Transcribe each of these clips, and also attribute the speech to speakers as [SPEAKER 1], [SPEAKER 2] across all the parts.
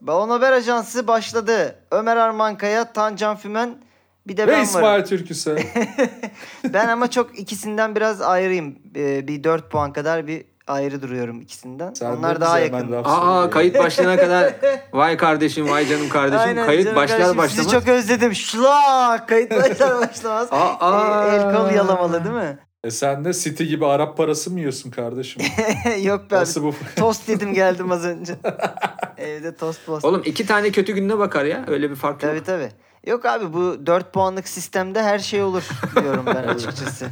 [SPEAKER 1] Balon Haber Ajansı başladı. Ömer Armankaya, Tancan Fümen bir de
[SPEAKER 2] Ve
[SPEAKER 1] ben varım.
[SPEAKER 2] İsmail Türküs'e.
[SPEAKER 1] Ben ama çok ikisinden biraz ayrıyım. Ee, bir 4 puan kadar bir ayrı duruyorum ikisinden.
[SPEAKER 2] Sen
[SPEAKER 1] Onlar
[SPEAKER 2] de
[SPEAKER 1] daha
[SPEAKER 2] bize hemen
[SPEAKER 1] yakın.
[SPEAKER 2] laf
[SPEAKER 3] Aa
[SPEAKER 2] söylüyorsun.
[SPEAKER 3] kayıt başlayana kadar vay kardeşim vay canım kardeşim
[SPEAKER 1] Aynen
[SPEAKER 3] kayıt
[SPEAKER 1] canım
[SPEAKER 3] başlar
[SPEAKER 1] kardeşim,
[SPEAKER 3] başlamaz.
[SPEAKER 1] Sizi çok özledim. Şlak kayıt başlar başlamaz. Ee,
[SPEAKER 3] Aa, aa.
[SPEAKER 1] El kol yalamalı değil mi?
[SPEAKER 2] E sen de City gibi Arap parası mı yiyorsun kardeşim?
[SPEAKER 1] Yok be abi.
[SPEAKER 2] Nasıl bu?
[SPEAKER 1] Tost yedim geldim az önce. Evde tost post.
[SPEAKER 3] Oğlum iki tane kötü gününe bakar ya öyle bir fark yok.
[SPEAKER 1] Tabii tabii. Yok abi bu 4 puanlık sistemde her şey olur diyorum ben açıkçası.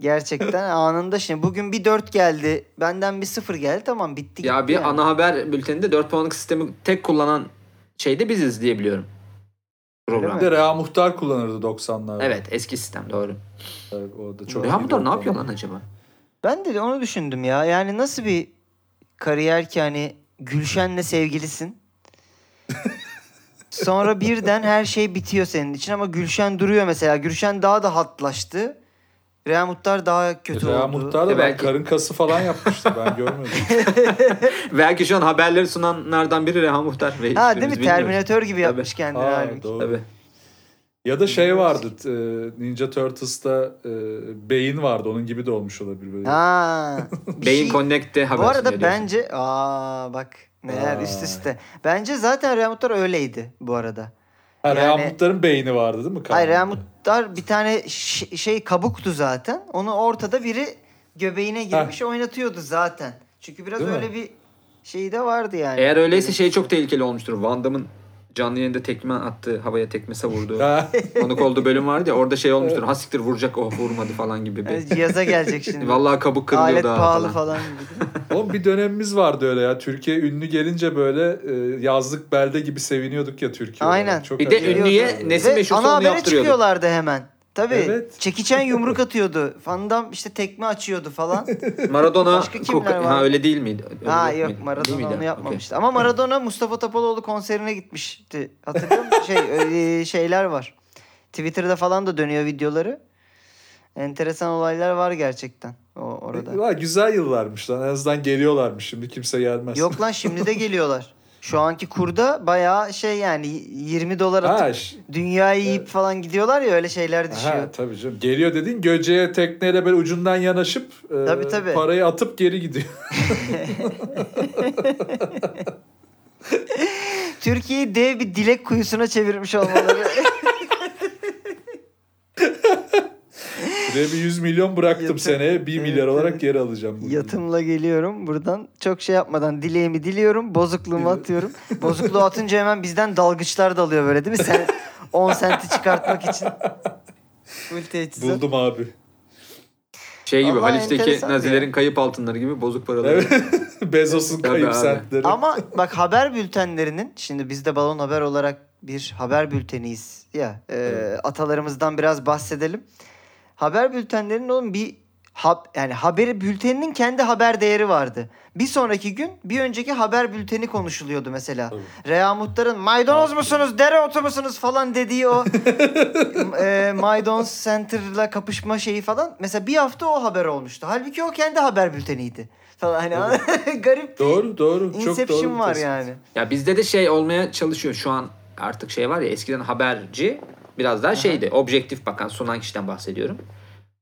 [SPEAKER 1] Gerçekten anında şimdi bugün bir 4 geldi. Benden bir 0 geldi tamam bitti. gitti
[SPEAKER 3] Ya bir
[SPEAKER 1] yani.
[SPEAKER 3] ana haber bülteninde 4 puanlık sistemi tek kullanan şey de biziz diye biliyorum. Program.
[SPEAKER 2] Bir de Reha Muhtar kullanırdı 90'larda.
[SPEAKER 3] Evet eski sistem doğru.
[SPEAKER 2] Evet, o da çok
[SPEAKER 3] Reha
[SPEAKER 2] iyi
[SPEAKER 3] Muhtar
[SPEAKER 2] bir
[SPEAKER 3] ne
[SPEAKER 2] ortam.
[SPEAKER 3] yapıyor lan acaba?
[SPEAKER 1] Ben de onu düşündüm ya. Yani nasıl bir kariyer ki hani Gülşen'le sevgilisin. Sonra birden her şey bitiyor senin için ama Gülşen duruyor mesela. Gülşen daha da hatlaştı. Reha Muhtar daha kötü
[SPEAKER 2] Reha
[SPEAKER 1] oldu.
[SPEAKER 2] Muhtar da ben
[SPEAKER 3] E belki-
[SPEAKER 2] karın kası falan yapmıştı ben görmedim.
[SPEAKER 3] Belki şu an haberleri sunanlardan biri Reha Muhtar. Ve
[SPEAKER 1] Ha
[SPEAKER 3] hiçbirimiz
[SPEAKER 1] değil mi?
[SPEAKER 3] bilmiyoruz.
[SPEAKER 1] Terminator gibi yapmış kendini
[SPEAKER 2] Aa,
[SPEAKER 1] halbuki.
[SPEAKER 2] doğru.
[SPEAKER 3] Tabii.
[SPEAKER 2] Ya da şey vardı e, Ninja Turtles'ta e, beyin vardı onun gibi de olmuş olabilir. Böyle.
[SPEAKER 1] Ha. bir
[SPEAKER 3] Beyin
[SPEAKER 1] şey-
[SPEAKER 3] Connect'te haber
[SPEAKER 1] Bu arada
[SPEAKER 3] sunuyor diyorsun.
[SPEAKER 1] bence aa bak neler
[SPEAKER 2] Aa.
[SPEAKER 1] üst üste. Bence zaten Reha Muhtar öyleydi bu arada.
[SPEAKER 2] ha, Reha
[SPEAKER 1] yani-
[SPEAKER 2] Muhtar'ın beyni vardı değil mi?
[SPEAKER 1] Hayır Reha
[SPEAKER 2] Muhtar.
[SPEAKER 1] Muhtar bir tane ş- şey kabuktu zaten. Onu ortada biri göbeğine girmiş oynatıyordu zaten. Çünkü biraz
[SPEAKER 2] Değil mi?
[SPEAKER 1] öyle bir şey de vardı yani.
[SPEAKER 3] Eğer öyleyse şey çok tehlikeli olmuştur. Van Damme'ın canlı yayında tekme attığı, havaya tekme savurduğu,
[SPEAKER 2] Ha,
[SPEAKER 3] konuk olduğu bölüm vardı ya orada şey olmuştur. Ha siktir vuracak oh vurmadı falan gibi
[SPEAKER 1] Yani
[SPEAKER 3] bir.
[SPEAKER 1] cihaza gelecek şimdi.
[SPEAKER 3] Vallahi kabuk kırılıyor
[SPEAKER 1] Alet
[SPEAKER 3] daha
[SPEAKER 1] pahalı
[SPEAKER 3] falan.
[SPEAKER 1] falan. gibi.
[SPEAKER 2] oğlum bir dönemimiz vardı öyle ya. Türkiye ünlü gelince böyle e, yazlık belde gibi seviniyorduk ya Türkiye.
[SPEAKER 1] Aynen.
[SPEAKER 2] olarak. Çok
[SPEAKER 3] Bir de
[SPEAKER 2] acayip.
[SPEAKER 3] ünlüye nesi
[SPEAKER 1] Ve
[SPEAKER 3] meşhur
[SPEAKER 1] ana
[SPEAKER 3] onu
[SPEAKER 1] habere
[SPEAKER 3] yaptırıyordu.
[SPEAKER 1] çıkıyorlardı hemen. Tabii.
[SPEAKER 2] Evet.
[SPEAKER 1] Çekiçen yumruk atıyordu. Fandam işte tekme açıyordu falan.
[SPEAKER 3] Maradona
[SPEAKER 1] Başka kimler
[SPEAKER 3] koka-
[SPEAKER 1] var?
[SPEAKER 3] ha öyle değil miydi? Öyle
[SPEAKER 1] Ha
[SPEAKER 3] miydi?
[SPEAKER 1] yok
[SPEAKER 3] Değil
[SPEAKER 1] Maradona
[SPEAKER 3] miydi?
[SPEAKER 1] onu yapmamıştı. Ama Maradona Mustafa Topaloğlu konserine gitmişti. Hatırlıyor musun? Şey, öyle şeyler var. Twitter'da falan da dönüyor videoları. Enteresan olaylar var gerçekten o orada.
[SPEAKER 2] Ha, güzel yıllarmış lan. En azından geliyorlarmış şimdi kimse gelmez.
[SPEAKER 1] Yok lan şimdi de geliyorlar. Şu anki kurda bayağı şey yani 20 dolar atıp
[SPEAKER 2] Ha, ş-
[SPEAKER 1] dünyayı yiyip falan gidiyorlar ya öyle şeyler düşüyor.
[SPEAKER 2] ha, tabii canım. Geliyor dediğin göceğe tekneyle böyle ucundan yanaşıp e,
[SPEAKER 1] Tabii, tabii.
[SPEAKER 2] parayı atıp geri gidiyor.
[SPEAKER 1] Türkiye'yi dev bir dilek kuyusuna çevirmiş olmaları.
[SPEAKER 2] Buraya bir 100 milyon bıraktım
[SPEAKER 1] Yatır-
[SPEAKER 2] seneye 1
[SPEAKER 1] Evet,
[SPEAKER 2] milyar olarak
[SPEAKER 1] evet.
[SPEAKER 2] geri alacağım. bunu.
[SPEAKER 1] Yatımla geliyorum buradan. Çok şey yapmadan dileğimi diliyorum. Bozukluğumu
[SPEAKER 2] Güzel.
[SPEAKER 1] atıyorum. Bozukluğu atınca hemen bizden dalgıçlar dalıyor böyle değil mi? Sen 10 senti çıkartmak için. Full teçhizat.
[SPEAKER 2] Buldum abi.
[SPEAKER 3] Şey gibi
[SPEAKER 1] Vallahi
[SPEAKER 3] Haliç'teki
[SPEAKER 1] enteresan
[SPEAKER 3] nazilerin kayıp altınları gibi bozuk paraları.
[SPEAKER 2] Evet. Bezos'un
[SPEAKER 3] Tabii
[SPEAKER 2] kayıp
[SPEAKER 3] abi.
[SPEAKER 2] sentleri.
[SPEAKER 1] Ama bak haber bültenlerinin şimdi biz de Balon Haber olarak bir haber bülteniyiz ya. e, Atalarımızdan biraz bahsedelim. Haber bültenlerinin oğlum bir hab, yani haberi bülteninin kendi haber değeri vardı. Bir sonraki gün bir önceki haber bülteni konuşuluyordu mesela. Rea Muhtar'ın maydanoz musunuz, dereotu musunuz falan dediği o e, maydanoz center'la kapışma şeyi falan. Mesela bir hafta o haber olmuştu. Halbuki o kendi haber bülteniydi. Falan hani garip
[SPEAKER 2] Doğru doğru. Çok doğru.
[SPEAKER 1] Inception
[SPEAKER 2] bir
[SPEAKER 1] var
[SPEAKER 2] tespit.
[SPEAKER 1] yani.
[SPEAKER 3] Ya bizde de şey olmaya çalışıyor şu an artık şey var ya eskiden haberci biraz daha şeydi objektif bakan sunan kişiden bahsediyorum.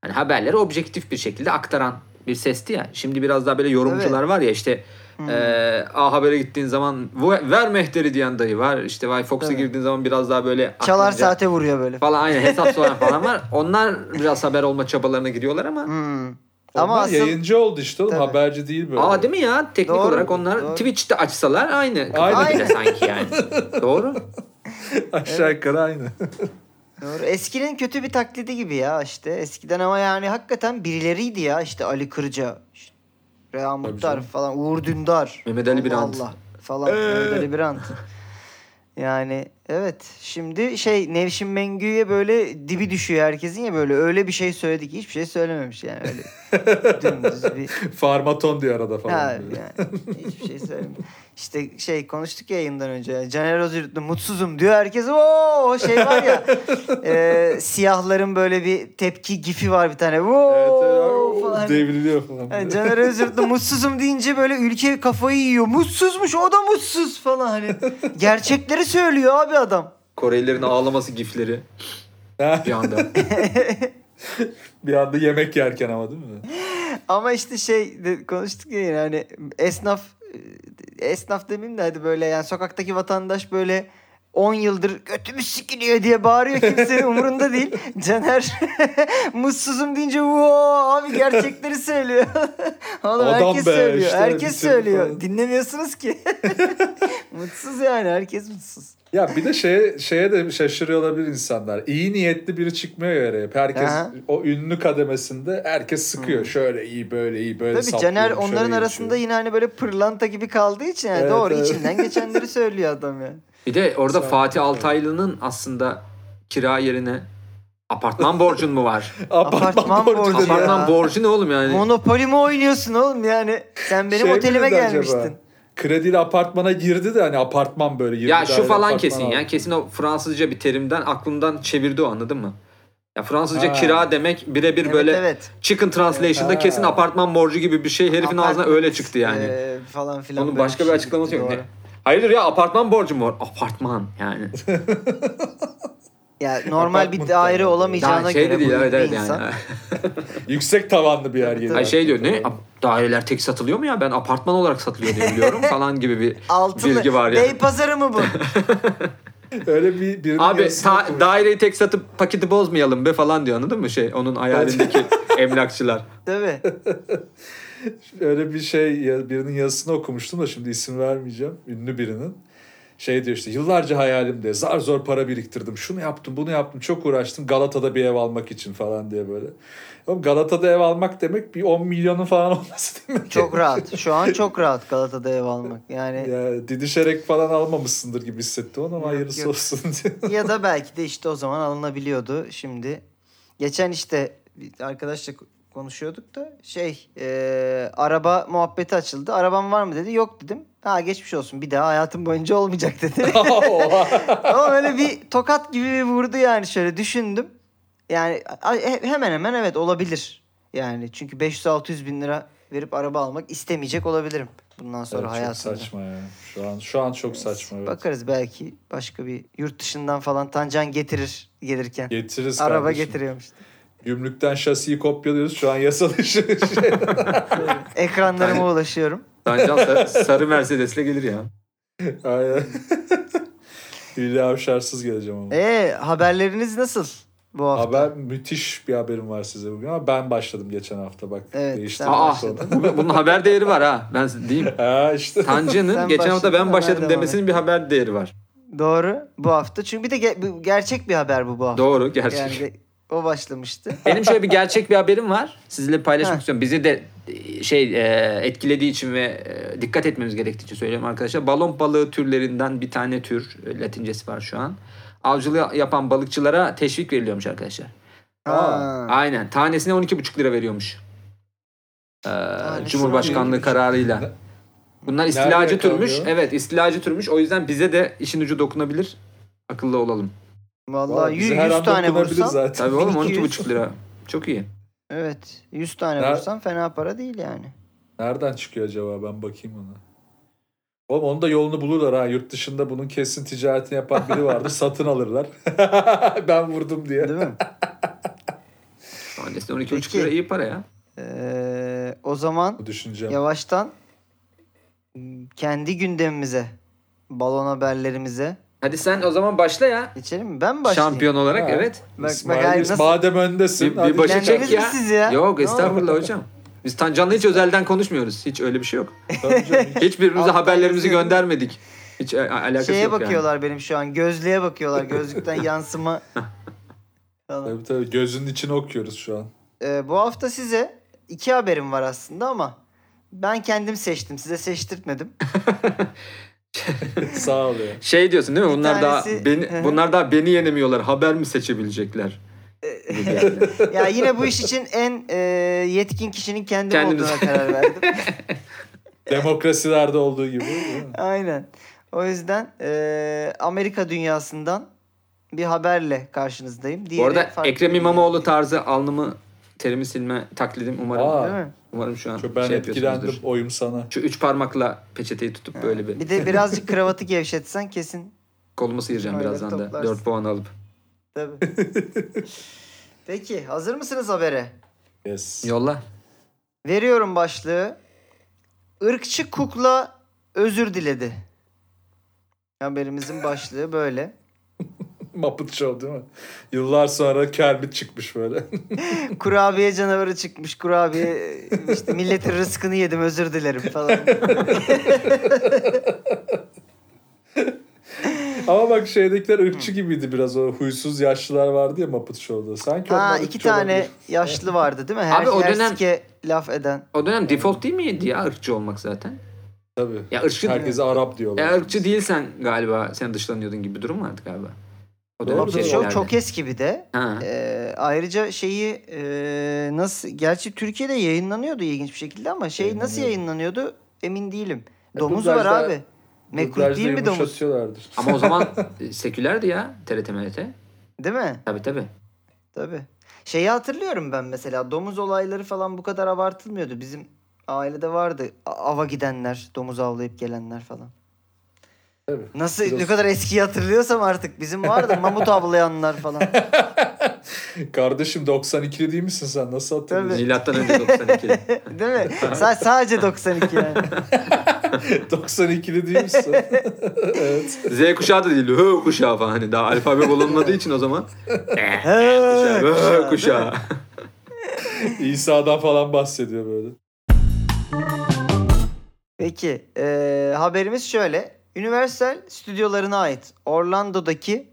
[SPEAKER 3] Hani haberleri objektif bir şekilde aktaran bir sesti ya. Şimdi biraz daha böyle yorumcular var ya işte
[SPEAKER 1] Hmm.
[SPEAKER 3] eee, A Haber'e gittiğin zaman "Vu- ver mehteri diyen dayı var. İşte Vay Fox'a
[SPEAKER 1] Tabii.
[SPEAKER 3] girdiğin zaman biraz daha böyle
[SPEAKER 1] Çalar
[SPEAKER 3] aklınca-
[SPEAKER 1] saate vuruyor böyle.
[SPEAKER 3] falan aynı hesap soran falan var. Onlar biraz haber olma çabalarına gidiyorlar ama
[SPEAKER 1] Hmm.
[SPEAKER 2] Ama
[SPEAKER 1] Ama asıl
[SPEAKER 2] yayıncı oldu işte oğlum.
[SPEAKER 1] Tabii.
[SPEAKER 2] Haberci değil böyle.
[SPEAKER 3] Aa değil mi ya? Teknik
[SPEAKER 1] Doğru,
[SPEAKER 3] olarak onlar
[SPEAKER 1] doğru.
[SPEAKER 3] Twitch'te açsalar aynı. Aynı.
[SPEAKER 2] Aynı.
[SPEAKER 3] sanki yani. doğru.
[SPEAKER 2] Aşağı yukarı aynı.
[SPEAKER 1] doğru. eskinin kötü bir taklidi gibi ya işte. Eskiden ama yani hakikaten birileriydi ya işte Ali Kırca, işte Reha Muhtar
[SPEAKER 2] canım.
[SPEAKER 1] falan, Uğur Dündar.
[SPEAKER 3] Mehmet Ali
[SPEAKER 1] Allah
[SPEAKER 3] Birant.
[SPEAKER 1] Allah falan.
[SPEAKER 2] Ee?
[SPEAKER 1] Mehmet Ali Birant. Yani evet şimdi şey Nevşin Mengü'ye böyle dibi düşüyor herkesin ya böyle öyle bir şey söyledi ki hiçbir şey söylememiş yani öyle dümdüz bir
[SPEAKER 2] Farmaton diyor arada falan.
[SPEAKER 1] Ha,
[SPEAKER 2] böyle.
[SPEAKER 1] yani hiçbir şey söylemiyorum. işte şey konuştuk ya yayından önce. Caner Özgürt'le mutsuzum diyor herkes. Oo o şey var ya. e, siyahların böyle bir tepki gifi var bir tane. Oo
[SPEAKER 2] Evet, evet,
[SPEAKER 1] falan.
[SPEAKER 2] devriliyor falan.
[SPEAKER 1] Yani Caner Özürtlü mutsuzum deyince böyle ülke kafayı yiyor. Mutsuzmuş o da mutsuz falan hani. Gerçekleri söylüyor abi adam.
[SPEAKER 3] Korelilerin ağlaması gifleri
[SPEAKER 2] Ha,
[SPEAKER 3] bir anda.
[SPEAKER 2] bir anda yemek yerken ama değil mi?
[SPEAKER 1] Ama işte şey de- konuştuk ya yine hani esnaf e, esnaf demeyeyim de hadi böyle yani sokaktaki vatandaş böyle 10 yıldır götümüz sikiliyor diye bağırıyor kimsenin umurunda değil. Caner mutsuzum deyince "Voo, abi gerçekleri söylüyor. Oğlum
[SPEAKER 2] Adam
[SPEAKER 1] herkes
[SPEAKER 2] be,
[SPEAKER 1] söylüyor.
[SPEAKER 2] işte
[SPEAKER 1] herkes
[SPEAKER 2] bir şey
[SPEAKER 1] söylüyor.
[SPEAKER 2] falan.
[SPEAKER 1] Dinlemiyorsunuz ki. mutsuz yani herkes mutsuz.
[SPEAKER 2] Ya bir de şeye, şeye de şaşırıyor olabilir insanlar. İyi niyetli biri çıkmıyor ya araya. Herkes
[SPEAKER 1] Aha. Hmm.
[SPEAKER 2] o ünlü kademesinde herkes sıkıyor. Şöyle iyi böyle iyi böyle
[SPEAKER 1] Tabii
[SPEAKER 2] saplıyorum,
[SPEAKER 1] Caner
[SPEAKER 2] şöyle
[SPEAKER 1] onların
[SPEAKER 2] iyi
[SPEAKER 1] arasında
[SPEAKER 2] şöyle.
[SPEAKER 1] yine hani böyle pırlanta gibi kaldığı için yani
[SPEAKER 2] şey. Evet,
[SPEAKER 1] doğru
[SPEAKER 2] evet.
[SPEAKER 1] içinden geçenleri söylüyor adam yani.
[SPEAKER 3] Bir de orada
[SPEAKER 2] Sağ ol.
[SPEAKER 3] Fatih Altaylı'nın aslında kira yerine apartman borcun mu var?
[SPEAKER 1] Apartman
[SPEAKER 2] apartman borcu.
[SPEAKER 1] borcu.
[SPEAKER 2] dedi ya.
[SPEAKER 3] apartman
[SPEAKER 1] Ya.
[SPEAKER 3] borcu ne oğlum yani?
[SPEAKER 1] Monopoli mi oynuyorsun oğlum yani? Sen benim
[SPEAKER 2] Şey
[SPEAKER 1] otelime
[SPEAKER 2] miydi acaba?
[SPEAKER 1] gelmiştin.
[SPEAKER 2] Krediyle apartmana girdi de hani apartman böyle girdi.
[SPEAKER 3] ya şu
[SPEAKER 2] daire,
[SPEAKER 3] falan
[SPEAKER 2] apartman
[SPEAKER 3] kesin
[SPEAKER 2] aldı.
[SPEAKER 3] ya. Kesin o Fransızca bir terimden aklımdan çevirdi o anladın mı? Ya Fransızca
[SPEAKER 2] Ha.
[SPEAKER 3] kira demek birebir
[SPEAKER 1] Evet
[SPEAKER 3] böyle
[SPEAKER 1] evet.
[SPEAKER 3] chicken translation'da
[SPEAKER 2] Ha.
[SPEAKER 3] kesin apartman borcu gibi bir şey herifin
[SPEAKER 1] Apart-
[SPEAKER 3] ağzına öyle çıktı yani.
[SPEAKER 1] Ee, falan filan.
[SPEAKER 3] Onun
[SPEAKER 1] böyle
[SPEAKER 3] başka bir
[SPEAKER 1] şey
[SPEAKER 3] açıklaması yok.
[SPEAKER 1] doğru.
[SPEAKER 3] Ne? Hayırdır ya apartman borcu mu var? Apartman yani.
[SPEAKER 1] Ya normal bir
[SPEAKER 2] Apartman
[SPEAKER 1] daire
[SPEAKER 2] da-
[SPEAKER 1] olamayacağına
[SPEAKER 3] Daha şey
[SPEAKER 1] göre
[SPEAKER 3] dedi ya
[SPEAKER 1] bu
[SPEAKER 3] evet
[SPEAKER 1] bir
[SPEAKER 3] evet
[SPEAKER 1] insan.
[SPEAKER 3] yani.
[SPEAKER 2] Yüksek tavanlı bir yer
[SPEAKER 1] Tabii,
[SPEAKER 2] geliyor.
[SPEAKER 3] Ay
[SPEAKER 1] tabii.
[SPEAKER 3] şey diyor ne Ap- daireler tek satılıyor mu ya ben apartman olarak satılıyor diye biliyorum falan gibi bir
[SPEAKER 1] Altılı.
[SPEAKER 3] bilgi var ya.
[SPEAKER 1] Bey pazarı mı bu?
[SPEAKER 2] Öyle bir birinin
[SPEAKER 3] Abi
[SPEAKER 2] yazısını
[SPEAKER 3] ta-
[SPEAKER 2] okumuş.
[SPEAKER 3] daireyi tek satıp paketi bozmayalım be falan diyor anladın mı şey onun hayalindeki emlakçılar.
[SPEAKER 1] Tabii.
[SPEAKER 2] öyle bir şey ya- birinin yazısını okumuştum da şimdi isim vermeyeceğim. Ünlü birinin. Şey diyor işte yıllarca hayalimde zar zor para biriktirdim. Şunu yaptım bunu yaptım çok uğraştım Galata'da bir ev almak için falan diye böyle. Oğlum Galata'da ev almak demek bir 10 milyonun falan olması demek.
[SPEAKER 1] Çok rahat. Şu an çok rahat Galata'da ev almak. Yani
[SPEAKER 2] Ya, didişerek falan almamışsındır gibi hissettim onu ama
[SPEAKER 1] Yok,
[SPEAKER 2] hayırlısı
[SPEAKER 1] yok.
[SPEAKER 2] olsun diye.
[SPEAKER 1] ya da belki de işte o zaman alınabiliyordu. Şimdi geçen işte bir arkadaşla konuşuyorduk da şey e, araba muhabbeti açıldı. Araban var mı dedi. Yok dedim. Ha geçmiş olsun bir daha hayatım boyunca olmayacak dedi. Ama öyle bir tokat gibi bir vurdu yani şöyle düşündüm. Yani a- he- hemen hemen evet olabilir. Yani çünkü 500-600 bin lira verip araba almak istemeyecek olabilirim. Bundan sonra
[SPEAKER 2] Evet, çok
[SPEAKER 1] hayatımda.
[SPEAKER 2] saçma ya. Şu an şu an çok saçma. Evet.
[SPEAKER 1] Bakarız belki başka bir yurt dışından falan Tancan getirir gelirken.
[SPEAKER 2] Getiririz
[SPEAKER 1] Araba
[SPEAKER 2] kardeşim.
[SPEAKER 1] getiriyormuş.
[SPEAKER 2] Gümrükten şasiyi kopyalıyoruz. Şu an yasal dışı şey.
[SPEAKER 1] Ekranlarıma ulaşıyorum.
[SPEAKER 3] Sancal sa- sarı Mercedes'le gelir ya.
[SPEAKER 2] Aynen. Hülya Avşarsız geleceğim ama.
[SPEAKER 1] Ee haberleriniz nasıl bu hafta?
[SPEAKER 2] Haber müthiş bir haberim var size bugün ama ben başladım geçen hafta bak.
[SPEAKER 1] Evet,
[SPEAKER 2] değişti
[SPEAKER 1] sen
[SPEAKER 3] Aa
[SPEAKER 2] sonra.
[SPEAKER 3] bu- bunun haber değeri var ha ben size diyeyim.
[SPEAKER 2] Ha işte.
[SPEAKER 3] Tancı'nın
[SPEAKER 1] Sen
[SPEAKER 3] geçen hafta
[SPEAKER 1] başladın,
[SPEAKER 3] ben
[SPEAKER 1] haber
[SPEAKER 3] başladım
[SPEAKER 1] devam
[SPEAKER 3] demesinin bir haber değeri var.
[SPEAKER 1] Doğru bu hafta. Çünkü bir de ge- bu gerçek bir haber bu bu hafta.
[SPEAKER 3] Doğru gerçek.
[SPEAKER 1] Yani de- o başlamıştı.
[SPEAKER 3] Benim şöyle bir gerçek bir haberim var. Sizinle paylaşmak
[SPEAKER 1] Heh.
[SPEAKER 3] istiyorum. Bizi de e, şey e, etkilediği için ve e, dikkat etmemiz gerektiği için söylüyorum arkadaşlar. Balon balığı türlerinden bir tane tür e, latincesi var şu an. Avcılığı yapan balıkçılara teşvik veriliyormuş arkadaşlar.
[SPEAKER 1] Aa,
[SPEAKER 2] Aa.
[SPEAKER 3] Aynen. Tanesine 12,5 lira veriyormuş. Ee,
[SPEAKER 1] Tanesine
[SPEAKER 3] Cumhurbaşkanlığı
[SPEAKER 1] 12,5.
[SPEAKER 3] kararıyla. Bunlar istilacı
[SPEAKER 2] Nerede
[SPEAKER 3] türmüş.
[SPEAKER 2] yakalıyor?
[SPEAKER 3] Evet istilacı türmüş. O yüzden bize de işin ucu dokunabilir. Akıllı olalım.
[SPEAKER 1] Vallahi
[SPEAKER 2] bizi
[SPEAKER 1] 100,
[SPEAKER 2] her an
[SPEAKER 1] tane
[SPEAKER 2] dokunabilir
[SPEAKER 1] vursam.
[SPEAKER 2] zaten.
[SPEAKER 3] Tabii oğlum
[SPEAKER 1] 1200.
[SPEAKER 3] 12,5 lira. Çok iyi.
[SPEAKER 1] Evet 100 tane
[SPEAKER 2] Ner-
[SPEAKER 1] vursam fena para değil yani.
[SPEAKER 2] Nereden çıkıyor acaba ben bakayım ona. Oğlum onun da yolunu bulurlar ha. Yurt dışında bunun kesin ticaretini yapan biri vardır. satın alırlar. ben vurdum diye.
[SPEAKER 1] Değil mi?
[SPEAKER 3] Tanesine 12,5
[SPEAKER 1] Peki.
[SPEAKER 3] lira iyi para ya.
[SPEAKER 1] Ee, o zaman
[SPEAKER 2] Bu düşüncem.
[SPEAKER 1] yavaştan kendi gündemimize, balon haberlerimize
[SPEAKER 3] Hadi sen o zaman başla ya.
[SPEAKER 1] geçelim mi? Ben mi başlayayım?
[SPEAKER 3] Şampiyon olarak
[SPEAKER 2] Ha.
[SPEAKER 3] evet.
[SPEAKER 1] Bak-
[SPEAKER 2] İsmail,
[SPEAKER 1] bak, nasıl-
[SPEAKER 2] madem öndesin.
[SPEAKER 3] Bir,
[SPEAKER 2] hadi
[SPEAKER 3] bir başı
[SPEAKER 1] Lendeniz
[SPEAKER 3] çek ya.
[SPEAKER 1] mi siz ya?
[SPEAKER 3] Yok
[SPEAKER 1] Ne
[SPEAKER 3] estağfurullah hocam. Biz Tancan'la hiç özelden konuşmuyoruz. Hiç öyle bir şey yok.
[SPEAKER 2] Tabii canım, hiç-
[SPEAKER 3] Hiçbirimize
[SPEAKER 1] Alttan
[SPEAKER 3] haberlerimizi
[SPEAKER 1] yazıyorum.
[SPEAKER 3] göndermedik. Hiç e, alakası
[SPEAKER 1] Şeye
[SPEAKER 3] yok yani.
[SPEAKER 1] bakıyorlar benim şu an. Gözlüğe bakıyorlar. Gözlükten yansıma. falan.
[SPEAKER 2] tabii tabii gözünün içine okuyoruz şu an.
[SPEAKER 1] Ee, bu hafta size iki haberim var aslında ama ben kendim seçtim. Size seçtirtmedim.
[SPEAKER 2] Sağ ol ya.
[SPEAKER 3] Şey diyorsun değil mi?
[SPEAKER 1] Bir
[SPEAKER 3] Bunlar daha
[SPEAKER 1] tanesi- Hı
[SPEAKER 3] beni
[SPEAKER 1] hı.
[SPEAKER 3] bunlar daha beni yenemiyorlar. Haber mi seçebilecekler? Gibi yani.
[SPEAKER 1] ya yine bu iş için en e, yetkin kişinin kendim
[SPEAKER 3] Kendiniz.
[SPEAKER 1] olduğuna karar verdim.
[SPEAKER 2] Demokrasilerde olduğu gibi. değil mi?
[SPEAKER 1] Aynen. O yüzden e, Amerika dünyasından bir haberle karşınızdayım.
[SPEAKER 4] Bu
[SPEAKER 1] Diğeri
[SPEAKER 4] arada
[SPEAKER 1] farklı
[SPEAKER 4] Ekrem
[SPEAKER 1] bir-
[SPEAKER 4] İmamoğlu tarzı alnımı terimi silme taklidim umarım.
[SPEAKER 2] Aa.
[SPEAKER 1] Değil mi?
[SPEAKER 4] Umarım şu an
[SPEAKER 2] Çok ben
[SPEAKER 4] şey
[SPEAKER 2] etkilendim.
[SPEAKER 4] yapıyorsunuzdur.
[SPEAKER 2] Oyum sana.
[SPEAKER 4] Şu üç parmakla peçeteyi tutup böyle bir
[SPEAKER 1] Bir de birazcık kravatı gevşetsen kesin.
[SPEAKER 4] kolumu sıyıracağım
[SPEAKER 1] Aynen,
[SPEAKER 4] birazdan da.
[SPEAKER 1] toplarsın.
[SPEAKER 4] 4 puan alıp.
[SPEAKER 1] Tabii. Peki hazır mısınız habere?
[SPEAKER 2] Yes.
[SPEAKER 4] Yolla.
[SPEAKER 1] Veriyorum başlığı. Irkçı kukla özür diledi. Haberimizin başlığı böyle.
[SPEAKER 2] Muppet Show değil mi? Yıllar sonra Kermit çıkmış böyle.
[SPEAKER 1] Kurabiye canavarı çıkmış. Kurabiye işte milletin rızkını yedim özür dilerim falan.
[SPEAKER 2] Ama bak şeydekiler ırkçı gibiydi biraz. O huysuz yaşlılar vardı ya Muppet Show'da. Sanki
[SPEAKER 1] ha
[SPEAKER 2] onlar
[SPEAKER 1] iki
[SPEAKER 2] ırkçı
[SPEAKER 1] tane
[SPEAKER 2] şey olabilir.
[SPEAKER 1] yaşlı vardı değil mi? Her,
[SPEAKER 4] Abi o
[SPEAKER 1] her
[SPEAKER 4] dönem-
[SPEAKER 1] sike laf eden.
[SPEAKER 4] O dönem default değil miydi ya ırkçı olmak zaten?
[SPEAKER 2] Tabii.
[SPEAKER 4] Ya ırkçı
[SPEAKER 2] Herkese Arap diyorlar.
[SPEAKER 4] Ya ırkçı değilsen galiba sen dışlanıyordun gibi bir durum vardı galiba. O dönem
[SPEAKER 2] Olabilir,
[SPEAKER 1] Muppet Show
[SPEAKER 4] şeylerde.
[SPEAKER 1] çok eski bir de.
[SPEAKER 4] Ha.
[SPEAKER 1] Ee, ayrıca şeyi e, nasıl gerçi Türkiye'de yayınlanıyordu ilginç bir şekilde ama şey nasıl
[SPEAKER 2] Yayınlanıyordu.
[SPEAKER 1] yayınlanıyordu emin değilim.
[SPEAKER 2] E,
[SPEAKER 1] Domuz var
[SPEAKER 2] dublajda-
[SPEAKER 1] abi. Mekrut
[SPEAKER 2] Dublajda
[SPEAKER 1] değil mi domuz?
[SPEAKER 2] yumuşatıyorlardır.
[SPEAKER 4] Ama o zaman e, sekülerdi ya TRT MRT.
[SPEAKER 1] Değil mi?
[SPEAKER 4] Tabii tabii.
[SPEAKER 1] Tabii. Şeyi hatırlıyorum ben mesela domuz olayları falan bu kadar abartılmıyordu. Bizim ailede vardı a- ava gidenler, domuz avlayıp gelenler falan.
[SPEAKER 2] Tabii.
[SPEAKER 1] Nasıl
[SPEAKER 2] Biraz-
[SPEAKER 1] ne kadar eskiyi hatırlıyorsam artık bizim vardı mamut avlayanlar falan.
[SPEAKER 2] Kardeşim 92'li değil misin sen? Nasıl hatırlıyorsun?
[SPEAKER 4] Milattan önce 92.
[SPEAKER 1] Değil mi? Sa- sadece 92 yani.
[SPEAKER 2] 92'li değil misin? evet.
[SPEAKER 4] Z kuşağı da değil. H kuşağı falan. Hani daha alfabe bulunmadığı için o zaman. H kuşağı.
[SPEAKER 2] İsa'dan falan bahsediyor böyle.
[SPEAKER 1] Peki eee, haberimiz şöyle. Universal stüdyolarına ait Orlando'daki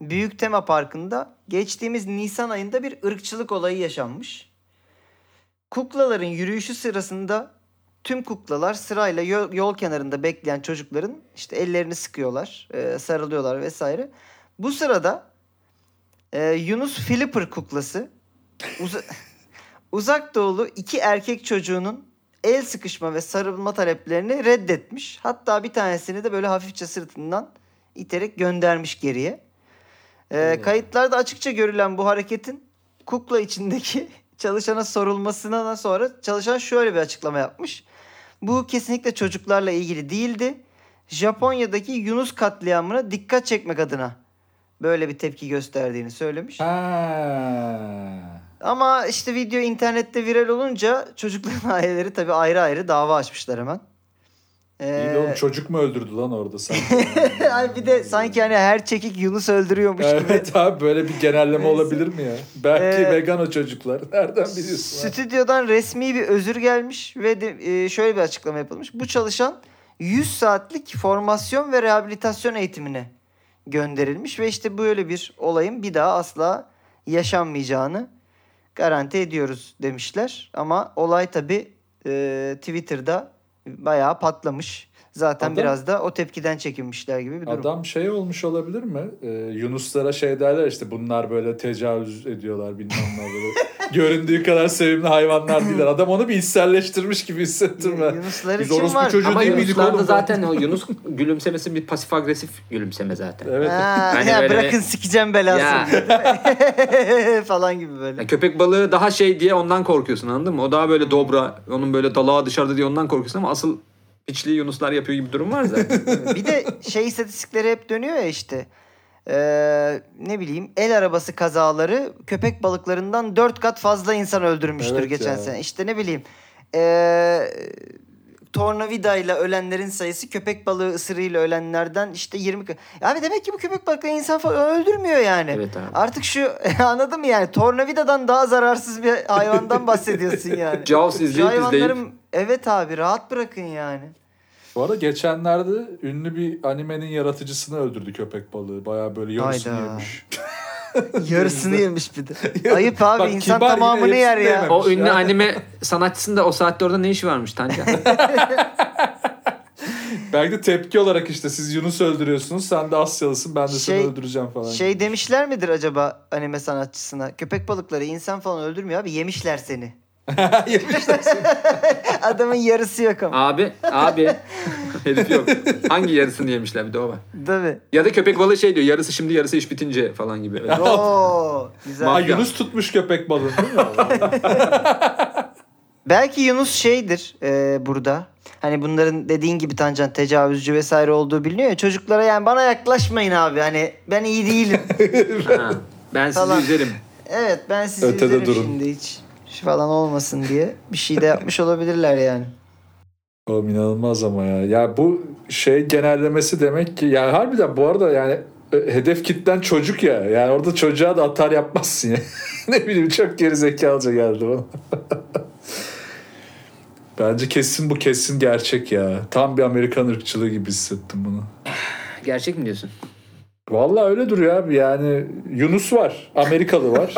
[SPEAKER 1] büyük tema parkında geçtiğimiz Nisan ayında bir ırkçılık olayı yaşanmış. Kuklaların yürüyüşü sırasında tüm kuklalar sırayla yol, yol kenarında bekleyen çocukların işte ellerini sıkıyorlar, eee, sarılıyorlar vesaire. Bu sırada eee, Yunus Flipper kuklası uza- uzak doğulu iki erkek çocuğunun el sıkışma ve sarılma taleplerini reddetmiş. Hatta bir tanesini de böyle hafifçe sırtından iterek göndermiş geriye. Ee, kayıtlarda açıkça görülen bu hareketin kukla içindeki çalışana sorulmasından sonra çalışan şöyle bir açıklama yapmış. Bu kesinlikle çocuklarla ilgili değildi. Japonya'daki Yunus katliamına dikkat çekmek adına böyle bir tepki gösterdiğini söylemiş.
[SPEAKER 2] Ha.
[SPEAKER 1] Ama işte video internette viral olunca çocukların aileleri tabii ayrı ayrı dava açmışlar hemen.
[SPEAKER 2] İyi
[SPEAKER 1] Ee,
[SPEAKER 2] de oğlum çocuk mu öldürdü lan orada sanki?
[SPEAKER 1] ay bir de sanki hani her çekik Yunus öldürüyormuş gibi.
[SPEAKER 2] evet abi böyle bir genelleme olabilir mi ya? Belki
[SPEAKER 1] Ee,
[SPEAKER 2] vegan o çocuklar. Nereden biliyorsun? abi?
[SPEAKER 1] Stüdyodan resmi bir özür gelmiş ve de- e, şöyle bir açıklama yapılmış. Bu çalışan 100 saatlik formasyon ve rehabilitasyon eğitimine gönderilmiş ve işte böyle bir olayın bir daha asla yaşanmayacağını garanti ediyoruz demişler. Ama olay tabii e, Twitter'da bayağı patlamış. Zaten
[SPEAKER 2] Adam-
[SPEAKER 1] biraz da o tepkiden çekinmişler gibi bir durum.
[SPEAKER 2] Adam şey olmuş olabilir mi? Ee, Yunuslara şey derler işte bunlar böyle tecavüz ediyorlar bilmem ne böyle. Göründüğü kadar sevimli hayvanlar değiller. Adam onu bir içselleştirmiş gibi hissettirme.
[SPEAKER 1] Yunuslar
[SPEAKER 2] Biz
[SPEAKER 1] için
[SPEAKER 2] orospu
[SPEAKER 1] var.
[SPEAKER 2] çocuğu
[SPEAKER 4] Ama
[SPEAKER 2] değil miydik oğlum
[SPEAKER 4] Yunuslarda
[SPEAKER 2] ben?
[SPEAKER 4] zaten o Yunus gülümsemesi bir pasif agresif gülümseme zaten.
[SPEAKER 2] Evet.
[SPEAKER 1] Ha,
[SPEAKER 4] Hani
[SPEAKER 1] ya
[SPEAKER 4] böyle-
[SPEAKER 1] bırakın sikeceğim belasını.
[SPEAKER 4] Ya.
[SPEAKER 1] Değil mi? falan gibi böyle.
[SPEAKER 4] Ya köpek balığı daha şey diye ondan korkuyorsun anladın mı? O daha böyle dobra, onun böyle dalağı dışarıda diye ondan korkuyorsun ama asıl piçliği Yunuslar yapıyor gibi bir durum var zaten.
[SPEAKER 1] bir de şey istatistikleri hep dönüyor ya işte. Ee, ne bileyim el arabası kazaları köpek balıklarından 4 kat fazla insan öldürmüştür
[SPEAKER 2] Evet
[SPEAKER 1] geçen
[SPEAKER 2] ya.
[SPEAKER 1] sene. İşte ne bileyim ee, tornavidayla ölenlerin sayısı köpek balığı ısırığıyla ölenlerden işte 20 kat. Abi demek ki bu köpek balıkları insan falan öldürmüyor yani.
[SPEAKER 4] Evet abi.
[SPEAKER 1] Artık şu anladın mı yani tornavidadan daha zararsız bir hayvandan bahsediyorsun yani.
[SPEAKER 4] Jaws
[SPEAKER 1] Şu
[SPEAKER 4] izleyip izleyip
[SPEAKER 1] hayvanların- evet abi rahat bırakın yani.
[SPEAKER 2] Bu arada geçenlerde ünlü bir animenin yaratıcısını öldürdü köpek balığı. Baya böyle yarısını
[SPEAKER 1] Hayda.
[SPEAKER 2] yemiş.
[SPEAKER 1] Yarısını yemiş bir de. Ayıp abi
[SPEAKER 2] Bak,
[SPEAKER 1] insan
[SPEAKER 2] kibar yine
[SPEAKER 1] tamamını
[SPEAKER 2] hepsini
[SPEAKER 1] yer ya.
[SPEAKER 2] yememiş.
[SPEAKER 4] O ünlü
[SPEAKER 2] Ya.
[SPEAKER 4] anime sanatçısının da o saatte orada ne işi varmış Tancan?
[SPEAKER 2] Belki de tepki olarak işte siz Yunus öldürüyorsunuz sen de Asyalısın ben de
[SPEAKER 1] Şey-
[SPEAKER 2] seni öldüreceğim falan.
[SPEAKER 1] Şey demişler midir acaba anime sanatçısına? Köpek balıkları insan falan öldürmüyor abi yemişler seni.
[SPEAKER 2] Yemişler.
[SPEAKER 1] Adamın yarısı yok ama.
[SPEAKER 3] Abi, abi. Herif yok. Hangi yarısını yemişler bir de o var.
[SPEAKER 1] Tabii.
[SPEAKER 3] Ya da köpek balığı şey diyor yarısı şimdi yarısı iş bitince falan gibi. Öyle.
[SPEAKER 1] Oo, güzel.
[SPEAKER 2] Aa, Yunus tutmuş köpek balığını değil mi?
[SPEAKER 1] Belki Yunus şeydir e, burada. Hani bunların dediğin gibi tancan tecavüzcü vesaire olduğu biliniyor ya. Çocuklara yani bana yaklaşmayın abi. Hani ben iyi değilim.
[SPEAKER 3] Ha, ben sizi
[SPEAKER 1] Falan.
[SPEAKER 3] üzerim.
[SPEAKER 1] evet ben sizi
[SPEAKER 2] Ötede
[SPEAKER 1] üzerim
[SPEAKER 2] durun.
[SPEAKER 1] şimdi hiç Şu falan olmasın diye bir şey de yapmış olabilirler yani.
[SPEAKER 2] Oğlum inanılmaz ama ya. Ya bu şey genellemesi demek ki ya harbiden bu arada yani e, hedef kitlen çocuk ya. Yani orada çocuğa da atar yapmazsın ya. ne bileyim çok gerizekalıca geldi bana. Bence kesin bu kesin gerçek ya. Tam bir Amerikan ırkçılığı gibi hissettim bunu.
[SPEAKER 3] Gerçek mi diyorsun?
[SPEAKER 2] Vallahi öyle duruyor abi yani Yunus var. Amerikalı var.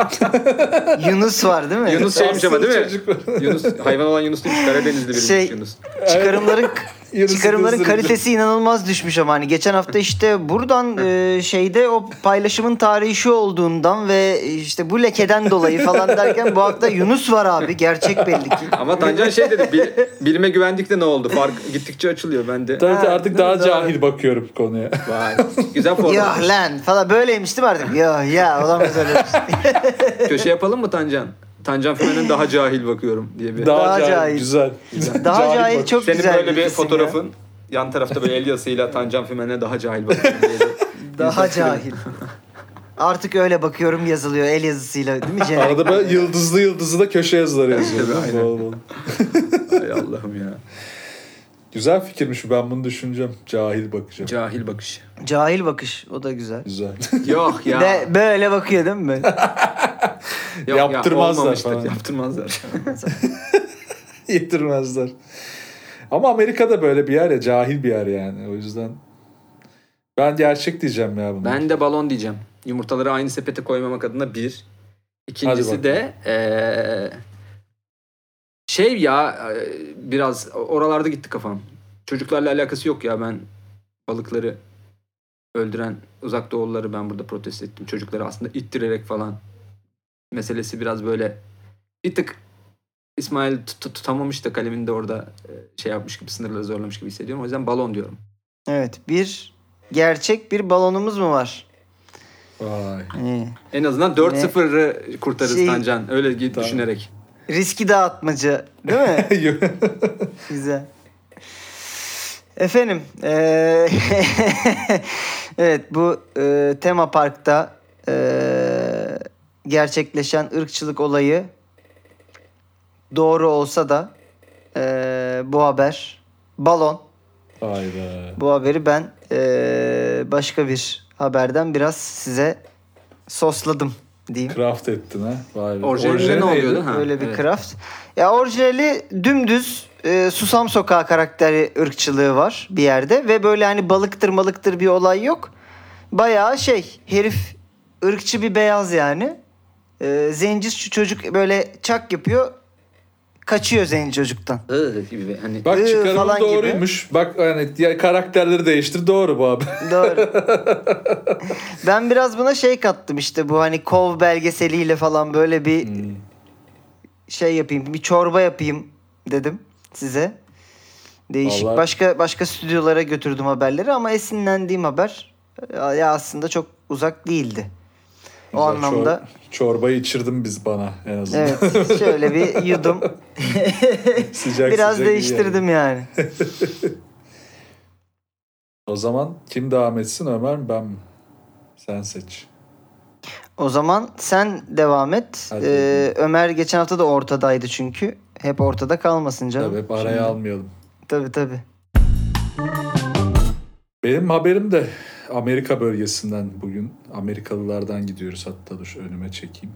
[SPEAKER 1] Yunus var değil mi?
[SPEAKER 3] Yunus şeymiş ama değil mi?
[SPEAKER 2] Çocuk var.
[SPEAKER 3] Yunus hayvan olan Yunus değil Karadenizli biriymiş
[SPEAKER 1] Şey-
[SPEAKER 3] Yunus.
[SPEAKER 1] Çıkarımların
[SPEAKER 2] Yarısı
[SPEAKER 1] çıkarımların
[SPEAKER 2] hızlı.
[SPEAKER 1] kalitesi inanılmaz düşmüş ama hani geçen hafta işte buradan e, şeyde o paylaşımın tarihi şu olduğundan ve işte bu lekeden dolayı falan derken bu hafta Yunus var abi gerçek belli ki.
[SPEAKER 3] Ama Tancan şey dedi "Bil- bilime güvendik de ne oldu? Fark gittikçe açılıyor bende.
[SPEAKER 2] Tabii ki
[SPEAKER 1] Ha,
[SPEAKER 2] artık
[SPEAKER 1] değil mi?
[SPEAKER 2] daha
[SPEAKER 1] Doğru.
[SPEAKER 2] cahil bakıyorum konuya.
[SPEAKER 3] Vay. Güzel
[SPEAKER 1] Ya
[SPEAKER 3] format.
[SPEAKER 1] lan falan böyleymiş değil mi artık? Ya ya olamaz öyle bir şey.
[SPEAKER 3] Köşe yapalım mı Tancan? Tancan Fümen'in daha cahil bakıyorum diye bir.
[SPEAKER 2] Daha,
[SPEAKER 1] Daha
[SPEAKER 2] cahil,
[SPEAKER 1] cahil.
[SPEAKER 2] güzel.
[SPEAKER 1] Daha cahil,
[SPEAKER 2] bak-
[SPEAKER 1] çok
[SPEAKER 3] Senin
[SPEAKER 1] güzel.
[SPEAKER 3] böyle bir
[SPEAKER 1] kesim ya.
[SPEAKER 3] fotoğrafın yan tarafta böyle el yazısıyla Tancan Fümen'e daha cahil bakıyorum diye. bir-
[SPEAKER 1] Daha
[SPEAKER 3] bir-
[SPEAKER 1] cahil. Artık öyle bakıyorum yazılıyor el yazısıyla değil mi Cener?
[SPEAKER 2] Arada böyle yıldızlı yıldızlı da köşe yazıları yazıyor.
[SPEAKER 3] Tabii,
[SPEAKER 2] değil mi? Bol
[SPEAKER 3] aynen.
[SPEAKER 2] bol.
[SPEAKER 3] Ay Allah'ım ya.
[SPEAKER 2] Güzel fikirmiş ben bunu düşüneceğim. Cahil bakacağım.
[SPEAKER 3] Cahil bakış.
[SPEAKER 1] Cahil bakış o da güzel.
[SPEAKER 2] Güzel.
[SPEAKER 3] Yok ya.
[SPEAKER 1] De, böyle bakıyor değil mi? böyle?
[SPEAKER 3] Yok,
[SPEAKER 2] Yaptırmazlar
[SPEAKER 3] olmamıştır,
[SPEAKER 2] falan.
[SPEAKER 3] Yaptırmazlar.
[SPEAKER 2] Yetirmezler. Ama Amerika'da böyle bir yer ya cahil bir yer yani. O yüzden ben gerçek diyeceğim ya bunu.
[SPEAKER 3] ben de balon diyeceğim. Yumurtaları aynı sepete koymamak adına bir.
[SPEAKER 2] Hadi
[SPEAKER 3] İkincisi de eee, şey ya eee, biraz oralarda gitti kafam. Çocuklarla alakası yok ya ben balıkları öldüren uzak doğulları ben burada protesto ettim. Çocukları aslında ittirerek falan meselesi biraz böyle bir tık İsmail tut- tutamamış da kalemini de orada eee, şey yapmış gibi sınırları zorlamış gibi hissediyorum. O yüzden balon diyorum.
[SPEAKER 1] Evet bir gerçek bir balonumuz mu var? Hani
[SPEAKER 2] Vay.
[SPEAKER 1] İyi.
[SPEAKER 3] En azından 4-0'ı kurtarırız
[SPEAKER 1] Şey-
[SPEAKER 3] Tancan. Öyle git
[SPEAKER 2] Tamam.
[SPEAKER 3] düşünerek.
[SPEAKER 1] Riski dağıtmacı değil mi? Güzel. Efendim, eee, evet bu eee, tema parkta eee, gerçekleşen ırkçılık olayı doğru olsa da eee, bu haber balon.
[SPEAKER 2] Hayda.
[SPEAKER 1] Bu haberi ben eee, başka bir haberden biraz size sosladım diyeyim.
[SPEAKER 2] Craft ettin ha. Vay be.
[SPEAKER 3] Orijinalinde ne
[SPEAKER 2] Orijinali
[SPEAKER 3] oluyordu?
[SPEAKER 2] neydi?
[SPEAKER 3] Ha,
[SPEAKER 1] Öyle bir
[SPEAKER 3] evet.
[SPEAKER 1] craft. Ya orijinali dümdüz e, Susam Sokağı karakteri ırkçılığı var bir yerde ve böyle hani balıktır malıktır bir olay yok. Bayağı şey herif ırkçı bir beyaz yani. E, zenci şu çocuk böyle çak yapıyor. Kaçıyor zenci çocuktan.
[SPEAKER 3] Iı gibi bir hani
[SPEAKER 2] Bak
[SPEAKER 1] Iı
[SPEAKER 2] çıkarımı
[SPEAKER 1] falan gibi.
[SPEAKER 2] doğruymuş. Bak yani diğer karakterleri değiştir doğru bu abi.
[SPEAKER 1] Doğru. ben biraz buna şey kattım işte bu hani kov belgeseliyle falan böyle bir
[SPEAKER 2] Hmm.
[SPEAKER 1] şey yapayım, bir çorba yapayım dedim size. Değişik.
[SPEAKER 2] Vallahi-
[SPEAKER 1] Başka başka stüdyolara götürdüm haberleri ama esinlendiğim haber e, ya aslında çok uzak değildi. O
[SPEAKER 2] Güzel,
[SPEAKER 1] anlamda
[SPEAKER 2] çor- çorbayı içirdin biz bana en azından.
[SPEAKER 1] evet şöyle bir yudum biraz
[SPEAKER 2] Sıcak sıcak iyi yani.
[SPEAKER 1] değiştirdim yani.
[SPEAKER 2] O zaman kim devam etsin Ömer mi ben mi? Sen seç.
[SPEAKER 1] O zaman sen devam et.
[SPEAKER 2] Hadi
[SPEAKER 1] Ee,
[SPEAKER 2] bakalım.
[SPEAKER 1] Ömer geçen hafta da ortadaydı çünkü. Hep ortada kalmasın canım.
[SPEAKER 2] Tabii hep araya
[SPEAKER 1] Şimdi-
[SPEAKER 2] almayalım.
[SPEAKER 1] Tabii tabii.
[SPEAKER 2] Benim haberim de Amerika bölgesinden bugün. Amerikalılardan gidiyoruz hatta dur şu önüme çekeyim.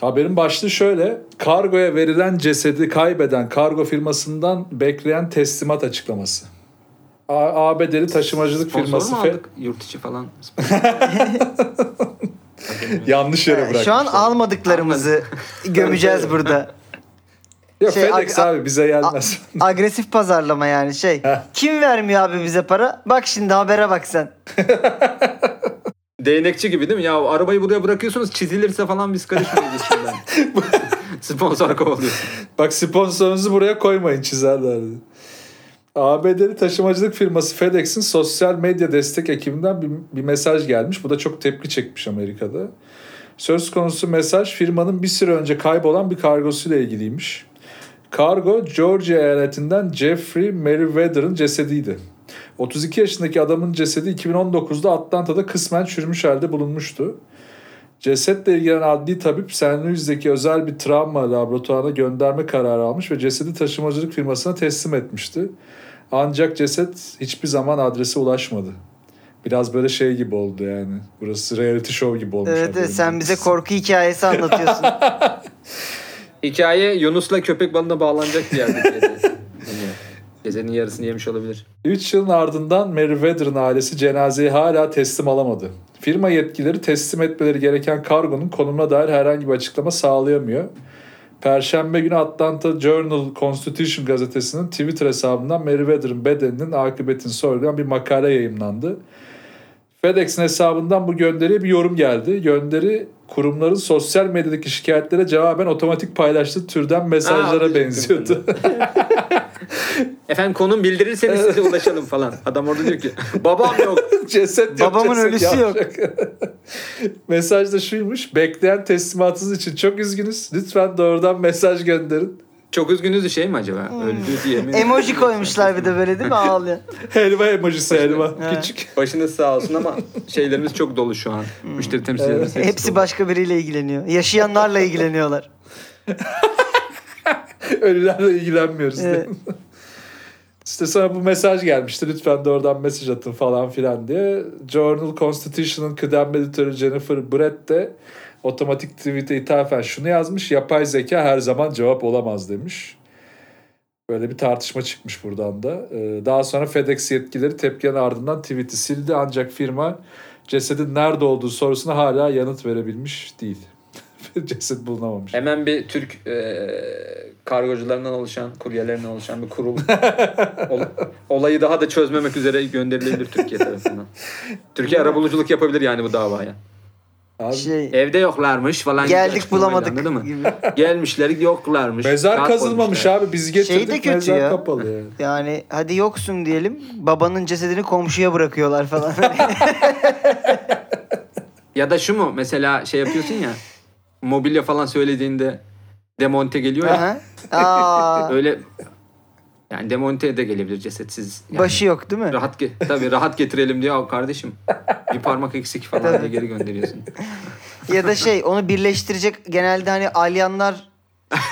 [SPEAKER 2] Haberin başlığı şöyle. Kargoya verilen cesedi kaybeden kargo firmasından bekleyen teslimat açıklaması. A- ABD'li taşımacılık
[SPEAKER 3] sponsor
[SPEAKER 2] firması
[SPEAKER 3] mu
[SPEAKER 2] fe-
[SPEAKER 3] aldık? Yurt içi falan.
[SPEAKER 2] yanlış yere bırakmış.
[SPEAKER 1] Şu an almadıklarımızı gömeceğiz burada.
[SPEAKER 2] Yok
[SPEAKER 1] şey,
[SPEAKER 2] FedEx
[SPEAKER 1] ag-
[SPEAKER 2] abi bize gelmez.
[SPEAKER 1] Agresif pazarlama yani şey.
[SPEAKER 2] Heh.
[SPEAKER 1] Kim vermiyor abi bize para? Bak şimdi habere bak sen.
[SPEAKER 3] Değnekçi gibi değil mi? Ya arabayı buraya bırakıyorsunuz çizilirse falan biz karışmayacağız şimdiden. Sponsor kovalıyorsun.
[SPEAKER 2] Bak sponsorunuzu buraya koymayın çizerlerdi. ABD'li taşımacılık firması FedEx'in sosyal medya destek ekibinden bir, bir mesaj gelmiş. Bu da çok tepki çekmiş Amerika'da. Söz konusu mesaj firmanın bir süre önce kaybolan bir kargosuyla ilgiliymiş. Kargo Georgia eyaletinden Jeffrey Merriweather'ın cesediydi. 32 yaşındaki adamın cesedi 2019'da Atlanta'da kısmen çürümüş halde bulunmuştu. Cesetle ilgilenen adli tabip St. Louis'deki özel bir travma laboratuvarına gönderme kararı almış ve cesedi taşımacılık firmasına teslim etmişti. Ancak ceset hiçbir zaman adrese ulaşmadı. Biraz böyle şey gibi oldu yani. Burası reality show gibi olmuş.
[SPEAKER 1] Evet,
[SPEAKER 2] haberin.
[SPEAKER 1] evet sen bize korku hikayesi anlatıyorsun.
[SPEAKER 3] Hikaye Yunus'la köpek balığına bağlanacak bir yerde. Bilmiyorum. Gecenin yarısını yemiş olabilir.
[SPEAKER 2] 3 yılın ardından Merriweather'ın ailesi cenazeyi hala teslim alamadı. Firma yetkileri teslim etmeleri gereken kargonun konumuna dair herhangi bir açıklama sağlayamıyor. Perşembe günü Atlanta Journal Constitution gazetesinin Twitter hesabından Merriweather'ın bedeninin akıbetini sorgulayan bir makale yayımlandı. FedEx'in hesabından bu gönderiye bir yorum geldi. Gönderi kurumların sosyal medyadaki şikayetlere cevaben otomatik paylaştığı türden mesajlara
[SPEAKER 3] diyecektim
[SPEAKER 2] benziyordu.
[SPEAKER 3] Efendim konum bildirilseniz size ulaşalım falan. Adam orada diyor ki babam yok.
[SPEAKER 2] ceset yok,
[SPEAKER 1] Babamın
[SPEAKER 2] ceset
[SPEAKER 1] ölüsü yok.
[SPEAKER 2] mesaj da şuymuş. Bekleyen teslimatınız için çok üzgünüz. Lütfen doğrudan mesaj gönderin.
[SPEAKER 3] Çok üzgünüz bir şey mi acaba? Öldü diye mi?
[SPEAKER 1] Emoji koymuşlar bir de böyle değil mi ağlıyor.
[SPEAKER 2] Helva emojisi helva.
[SPEAKER 1] Evet.
[SPEAKER 2] Küçük.
[SPEAKER 3] Başınız sağ olsun ama şeylerimiz çok dolu şu an. Müşteri temsilcilerimiz Hmm. hepsi
[SPEAKER 1] Hepsi
[SPEAKER 3] dolu.
[SPEAKER 1] başka biriyle ilgileniyor. Yaşayanlarla ilgileniyorlar.
[SPEAKER 2] Ölülerle ilgilenmiyoruz.
[SPEAKER 1] Evet.
[SPEAKER 2] İşte sonra bu mesaj gelmişti. Lütfen doğrudan mesaj atın falan filan diye. Journal Constitution'ın kıdemli editörü Jennifer Brett de otomatik tweet'e ithafen şunu yazmış. Yapay zeka her zaman cevap olamaz demiş. Böyle bir tartışma çıkmış buradan da. Ee, Daha sonra FedEx yetkileri tepkinin ardından tweet'i sildi. Ancak firma cesedin nerede olduğu sorusuna hala yanıt verebilmiş değil. Ceset bulunamamış.
[SPEAKER 3] Hemen bir Türk e, kargocularından oluşan, kuryelerinden oluşan bir kurul. Ol- olayı daha da çözmemek üzere gönderilebilir Türkiye tarafından. Türkiye arabuluculuk yapabilir yani bu davaya.
[SPEAKER 2] Abi,
[SPEAKER 1] Şey,
[SPEAKER 3] Evde yoklarmış falan. gibi
[SPEAKER 1] geldik
[SPEAKER 3] açıklamayla,
[SPEAKER 1] bulamadık
[SPEAKER 3] anladın mı?
[SPEAKER 1] gibi.
[SPEAKER 3] Gelmişler yoklarmış.
[SPEAKER 2] mezar
[SPEAKER 3] Kağıt
[SPEAKER 2] kazılmamış
[SPEAKER 3] koymuşlar.
[SPEAKER 2] abi. Biz getirdik
[SPEAKER 1] Şey kötü
[SPEAKER 2] mezar
[SPEAKER 1] ya.
[SPEAKER 2] kapalı yani.
[SPEAKER 1] Yani hadi yoksun diyelim. Babanın cesedini komşuya bırakıyorlar falan.
[SPEAKER 3] Ya da şu mu mesela şey yapıyorsun ya mobilya falan söylediğinde demonte geliyor ya.
[SPEAKER 1] Aha. Aa,
[SPEAKER 3] Öyle yani demonte de gelebilir cesetsiz. Yani
[SPEAKER 1] başı yok değil mi?
[SPEAKER 3] rahat ge- tabii rahat getirelim diye "Aa kardeşim bir parmak eksik falan diye geri gönderiyorsun.
[SPEAKER 1] Ya da şey onu birleştirecek genelde hani alyanlar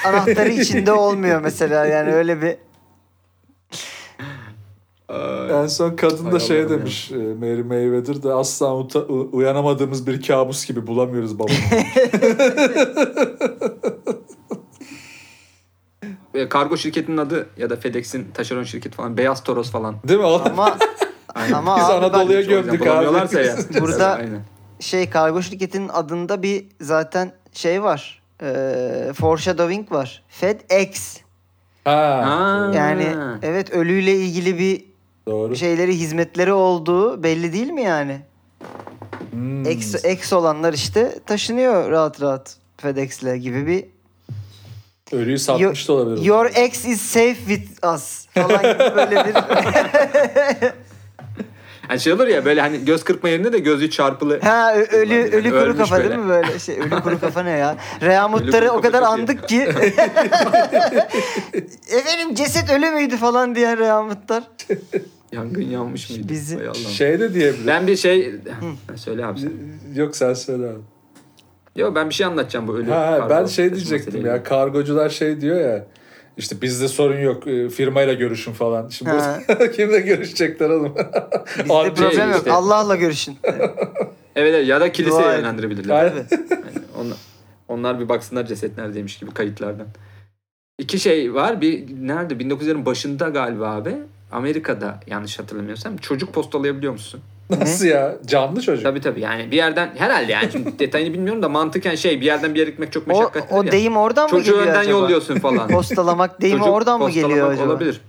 [SPEAKER 1] anahtarı içinde olmuyor mesela yani öyle bir
[SPEAKER 2] En son kadın
[SPEAKER 3] Hay
[SPEAKER 2] da şey
[SPEAKER 3] Allah'ım ya.
[SPEAKER 2] demiş. e, Mary Mayweather de asla uta- u- uyanamadığımız bir kabus gibi bulamıyoruz babamı.
[SPEAKER 3] Ve E, kargo şirketinin adı ya da FedEx'in taşeron şirketi falan Beyaz Toros falan.
[SPEAKER 2] Değil mi?
[SPEAKER 1] ama
[SPEAKER 3] Aynen.
[SPEAKER 1] Ama
[SPEAKER 2] Biz
[SPEAKER 1] abi ben-
[SPEAKER 2] Anadolu'ya
[SPEAKER 3] Hiç o yüzden
[SPEAKER 2] gömdük abi.
[SPEAKER 3] bulamıyorlarsa ya.
[SPEAKER 1] Burada-
[SPEAKER 3] Aynen.
[SPEAKER 1] şey kargo şirketinin adında bir zaten şey var. Ee, foreshadowing var. FedEx.
[SPEAKER 2] Ha,
[SPEAKER 3] Ha.
[SPEAKER 1] Yani evet ölüyle ilgili bir
[SPEAKER 2] doğru.
[SPEAKER 1] şeyleri hizmetleri olduğu belli değil mi yani?
[SPEAKER 2] Hmm.
[SPEAKER 1] Ex, ex olanlar işte taşınıyor rahat rahat FedEx'le gibi bir
[SPEAKER 2] Ölüyü satmış da olabilir.
[SPEAKER 1] Your ex is safe with us falan gibi böyle bir
[SPEAKER 3] Yani şey olur ya böyle hani göz kırpma yerine de gözü çarpılı.
[SPEAKER 1] Ha ö- ölü
[SPEAKER 3] Yani
[SPEAKER 1] ölü kuru
[SPEAKER 3] ölmüş
[SPEAKER 1] kafa
[SPEAKER 3] böyle.
[SPEAKER 1] değil mi böyle? Şey ölü kuru kafa ne ya? Reamutları
[SPEAKER 3] kuru
[SPEAKER 1] o kadar
[SPEAKER 3] kafa çok iyi.
[SPEAKER 1] andık ki. Efendim ceset ölü müydü falan diye Reamutlar.
[SPEAKER 3] Yangın yanmış mıydı?
[SPEAKER 1] Bizi-
[SPEAKER 3] Hay Allah'ım.
[SPEAKER 2] Şey de diyebilir.
[SPEAKER 3] Ben bir şey Ha, söyle abi. sen.
[SPEAKER 2] Yok sen söyle abi.
[SPEAKER 3] Yo ben bir şey anlatacağım bu ölü.
[SPEAKER 2] Ha,
[SPEAKER 3] kargo
[SPEAKER 2] ben şey
[SPEAKER 3] taşıma
[SPEAKER 2] diyecektim
[SPEAKER 3] meseleyle.
[SPEAKER 2] ya. Kargocular şey diyor ya. İşte bizde sorun yok. e, Firmayla görüşün falan. Şimdi
[SPEAKER 1] Ha.
[SPEAKER 2] kimle görüşecekler oğlum?
[SPEAKER 1] Bizde
[SPEAKER 2] Abi,
[SPEAKER 1] E, problem yok.
[SPEAKER 3] şey işte.
[SPEAKER 1] Allah'la görüşün.
[SPEAKER 3] Evet, evet ya da kiliseye
[SPEAKER 1] Dua et.
[SPEAKER 3] yönlendirebilirler.
[SPEAKER 2] Aynen.
[SPEAKER 3] Yani onlar, Ee, onlar bir baksınlar ceset neredeymiş gibi kayıtlardan. İki şey var. Bir nerede? 1900'lerin başında galiba abi. Amerika'da yanlış hatırlamıyorsam çocuk postalayabiliyor musun?
[SPEAKER 2] Nasıl ya? Canlı çocuk.
[SPEAKER 3] Tabii tabii yani bir yerden herhalde yani şimdi detayını bilmiyorum da mantıken şey bir yerden bir yere gitmek çok
[SPEAKER 1] O,
[SPEAKER 3] meşakkatli
[SPEAKER 1] o
[SPEAKER 3] ya.
[SPEAKER 1] deyim oradan mı
[SPEAKER 3] Çocuğu
[SPEAKER 1] geliyor
[SPEAKER 3] önden
[SPEAKER 1] acaba?
[SPEAKER 3] yolluyorsun falan.
[SPEAKER 1] Postalamak deyimi
[SPEAKER 3] Çocuk
[SPEAKER 1] oradan mı geliyor
[SPEAKER 3] postalamak
[SPEAKER 1] acaba?
[SPEAKER 3] Olabilir.